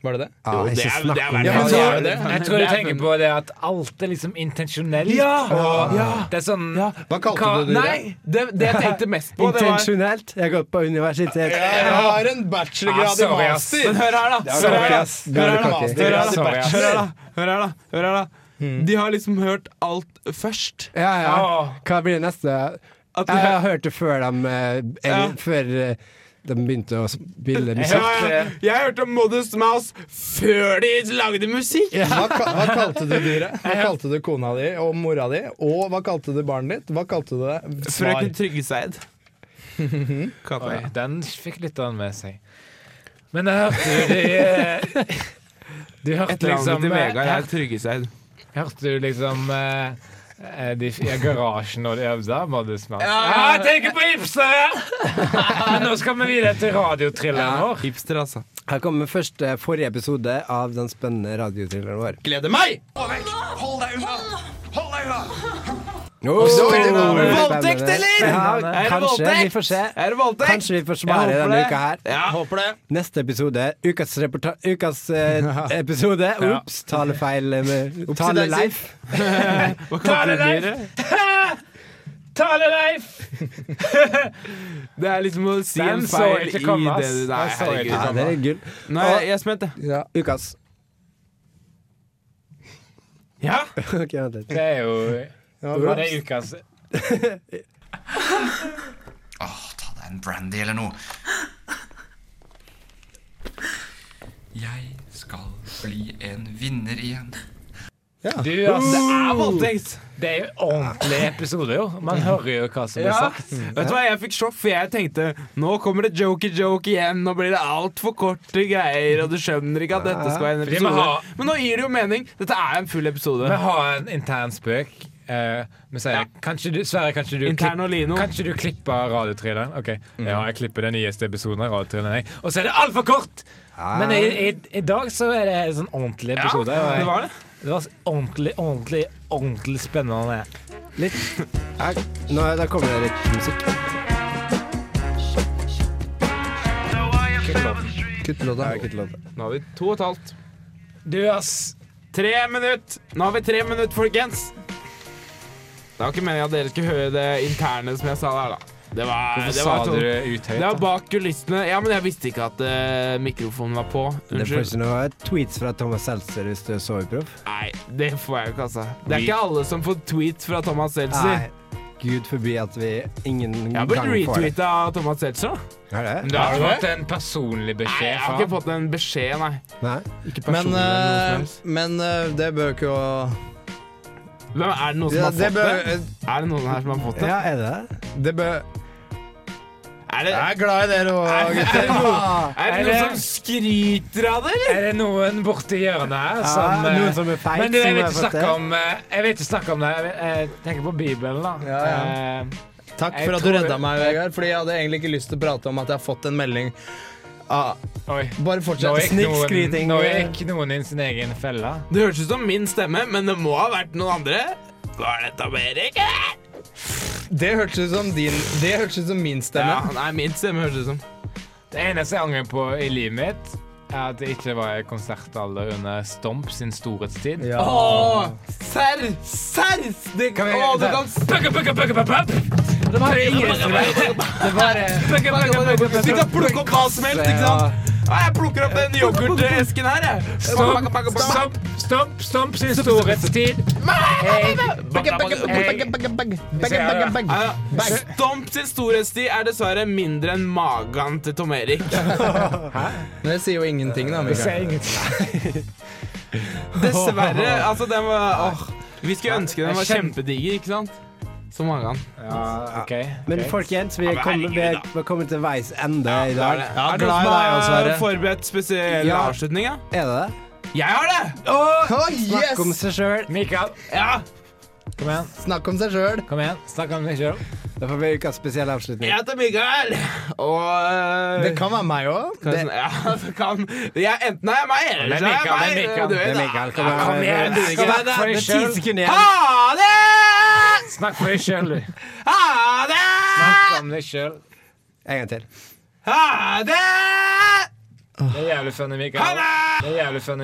D: Var det det?
B: Ja,
C: Jo, det
B: ikke
C: er-
B: snakk
C: det er
B: om
C: verdt
B: det.
A: Jeg
D: Ja, men
A: tror,
D: så er det det.
A: jeg tror du tenker på det at alt er liksom intensjonelt. og Det er sånn
D: Hva kalte
A: Ka-
D: du det?
C: Nei, det, det jeg tenkte mest på, det var
B: Intensjonelt. Jeg har gått på universitet.
D: Ja, Jeg har en
A: Ah,
D: bachelorgrad i
A: sorry, ass.
D: master!
C: Men hør her, da. Hør her, da.
B: Yes, det er det kake.
C: Hør her, da.
A: Sorry, ass.
C: Hør her, da. Hør her, da. Hør her, da. De har liksom hørt alt først.
B: Ja, ja.
A: Åh.
B: Hva blir det neste?
C: At
B: Jeg
C: de
B: har
C: har
B: hørt det før de, eh, eller, før eh, de begynte å spille
A: Ja,
B: musikk.
A: ja.
C: jeg hørte om Modest Mouse før de lagde musikk!
D: Hva, ka- hva kalte du dyret? Hva kalte du kona di og mora di? Og hva kalte du barnet ditt? Hva kalte du det? Svar.
C: Frøken Tryggeseid. Katta. *laughs*
A: Oi, den fikk litt av den med seg. Men jeg hørte du de eh, Du hørte
C: Etternavnet
A: liksom
C: til
A: eh,
C: Vegard er Tryggeseid.
A: Hørte du liksom eh, eh, de, ja, garasjen når de øvde? Modus Mouse.
C: Ja, ja,
A: Ja,
C: ja.
A: jeg tenker Ah, på hipstere! Men nå skal vi videre til radiotrilleren vår.
C: Hipster, altså.
B: Her kommer først eh, forrige episode av den spennende radiotrilleren vår.
D: Gleder meg!
B: Oh,
C: Voldtekt, eller? Er
B: Ja,
C: det
B: kanskje.
C: voldtekt?
B: Vi får se.
C: Er det voldtekt?
B: Kanskje vi får
C: Jeg
B: svare
C: håper
B: denne
C: det.
B: uka her.
C: Ja, håper det.
B: Neste episode, ukas, reporta ukas
C: *laughs*
B: eh, episode Ops, talefeil eh, med- Taleleif.
C: Hva kalte
A: *laughs*
C: du
A: Tale-Leif!
C: dyret?
A: Tale-Leif!
C: Det er liksom å si
A: Den
C: en
A: så
C: feil
A: ikke
C: i det du
A: komme,
C: Nei,
A: ass. Den så ikke
B: Ja,
C: herregud.
B: det er gull.
C: Nei, jeg er spent, jeg.
B: Ukas.
C: Ja?
B: *laughs* Ok, vent litt.
A: Det er jo
D: bra.
A: Det er ukas
E: Oh, ta deg en brandy eller *gasps* noe. Jeg skal bli en vinner igjen.
A: Du, altså.
C: Det er voldtekt.
A: Det er jo ordentlig episode, jo. Man hører jo hva som blir
C: Ja.
A: sagt.
C: Vet du hva, jeg fikk sjokk, for jeg tenkte nå kommer det jokey-joke igjen. Nå blir det altfor korte greier, og du skjønner ikke at dette skal være en
A: Fordi vi
C: episode.
A: har-
C: Men nå gir det jo mening. Dette er en full
A: Vi
C: episode.
A: har en intern spøk. Eh, vi sier kanskje du, Sverre, kanskje du, klipp,
C: Intern og Lino.
A: kanskje du klipper radiotrilleren? Ok,
C: Mm.
A: Ja, jeg klipper den nyeste episoden av radiotrilleren. jeg. Og så er det altfor kort! Men i, i, i dag så er det en sånn ordentlig
C: Ah. Ja,
A: episode. og jeg-
C: det var det.
A: det var ordentlig, ordentlig, ordentlig spennende.
B: Litt Nei, Nå, Der kommer det litt musikk. Kutt låta. Ja, kutt låta.
C: Nå har vi to og et halvt.
A: Du, ass.
C: Tre minutt! Nå har vi tre minutt, folkens. Det var ikke meningen at dere skulle høre det interne som jeg sa der, da. Det var,
A: Hvorfor
C: det var
A: sa
C: sånn-
A: du det ut
C: Det var
A: høyt? da?
C: bak kulissene. Ja, men jeg visste ikke at eh, mikrofonen var på.
B: Det får
C: Unnskyld.
B: ikke noe tweets fra Thomas Seltzer hvis du er soveproff.
C: Nei, det får jeg jo ikke, altså. Det er ikke alle som får tweet fra Thomas Seltzer.
B: gud forby at vi ingen
C: Jeg har
B: gang
C: blitt
B: får det.
C: retweeta av Thomas Seltzer. da.
B: Er
A: Men
B: det?
A: du har
C: Er
A: ikke
C: det
A: fått en personlig
C: Nei,
A: beskjed
C: jeg har
A: fra
C: ikke fått en beskjed, nei.
B: Nei?
C: Ikke
D: Men,
C: personlig. eller
D: eh,
C: noe som helst.
D: men eh, det bør ikke å
C: Hvem er det noen som
D: Ja,
C: har
D: det
C: fått
D: bør, eh,
C: det? Er det noen her som har fått det?
B: Ja, er det det?
D: det bør
C: Er det,
D: Jeg er glad i dere òg, gutter.
C: er det
A: er det-
C: noen som skryter av det, eller? Ah,
A: Er det noen borti hjørnet her som
B: Ja,
A: eh,
B: noen som er feit
A: Men du, jeg
B: som
A: vil
B: har
A: ikke
B: fått
A: snakke
B: det?
A: om eh, Jeg vil ikke snakke om det. Jeg, vil- jeg tenker på Bibelen, da.
D: Ja, ja.
A: Eh,
D: Takk
A: Jeg
D: for at du
A: tror-
D: redda meg, Vegard, fordi jeg hadde egentlig ikke lyst til å prate om at jeg har fått en melding. Ah,
A: Oi.
D: bare
A: Nå
D: fortsett.
A: gikk, noen,
B: Snikskryting. eh.
A: nå gikk noen inn sin egen felle.
C: Det høres ut som min stemme, men det må ha vært noen andre. Hva er dette med Erik?
D: Det hørtes ut som din Det hørtes ut som min
C: Ja,
D: stemme.
C: nei, min stemme høres ut som.
A: Det eneste jeg angrer på i livet mitt, er at det ikke var i konsertalder under Stomp sin storhetstid.
B: Ja.
C: Åh, serr, serr! Det
A: Kan
C: kan
A: vi-
C: Åh, du
A: der.
C: kan
A: Pukka, pukka, pukka, pukka, pukka. Det var det ingen som Det var eh, det. Pukka, pukka, pukka, pukka,
C: Du
A: pukka.
C: kan plukke opp hva som helst, ikke sant?
D: Ah,
C: Nei, jeg plukker opp den yoghurtesken her, jeg.
A: Stomp, stomp, stomp, stomp sin storhetstid. Jeg- jeg-
C: Ja, ja. Stomp sin storhetstid er dessverre mindre enn magen til Tom Erik.
D: Men det sier jo ingenting, da.
A: Jeg ser
D: Mikael.
A: ingenting.
C: Dessverre. Altså, den var åh. Vi skulle ønske den var
A: Jeg kjenner-
C: kjempediger, ikke sant? Som magen.
A: Ja, OK.
B: Men folkens, vi
C: Ja,
B: er
C: men
B: kommet, vi
C: herregud,
B: er- vi er kommet til veis ende i
C: Er
B: dag.
C: det
D: Ja,
C: er det noen
D: glad i
C: som
D: deg også,
C: har
D: Sverre.
C: forberedt spesiell
B: Ja.
C: avslutning, ja?
B: Er det det?
C: Jeg har det!
B: Snakk om seg sjøl.
A: Mikael,
C: Ja.
A: kom igjen.
D: Snakk om seg sjøl.
A: Kom igjen. Snakk om deg sjøl.
B: Da får vi ukas spesielle avslutning.
C: Jeg heter Mikael, og øh,
D: Det kan være meg òg.
C: Kan jeg sånn- Ja, *laughs* det kan jeg, Enten er jeg meg,
A: Det
C: eller
A: er
C: så er
A: Mikael, det er
C: jeg meg.
A: Mikael,
C: Du
A: det
C: vet
B: Det er
C: da.
B: Mikael. Kom
A: Kom
B: igjen.
A: igjen, du.
B: Kom igjen,
A: Snakk
B: det
A: for
B: er
A: deg
B: det er ti
A: sjøl.
B: sekunder igjen.
C: Ha det!
A: Snakk for deg sjøl, du.
C: Ha det!
A: Snakk om deg sjøl.
B: En gang til.
C: Ha det!
A: Det er jævlig funny, Mikael.
C: Ha det!
A: Det er jævlig funny.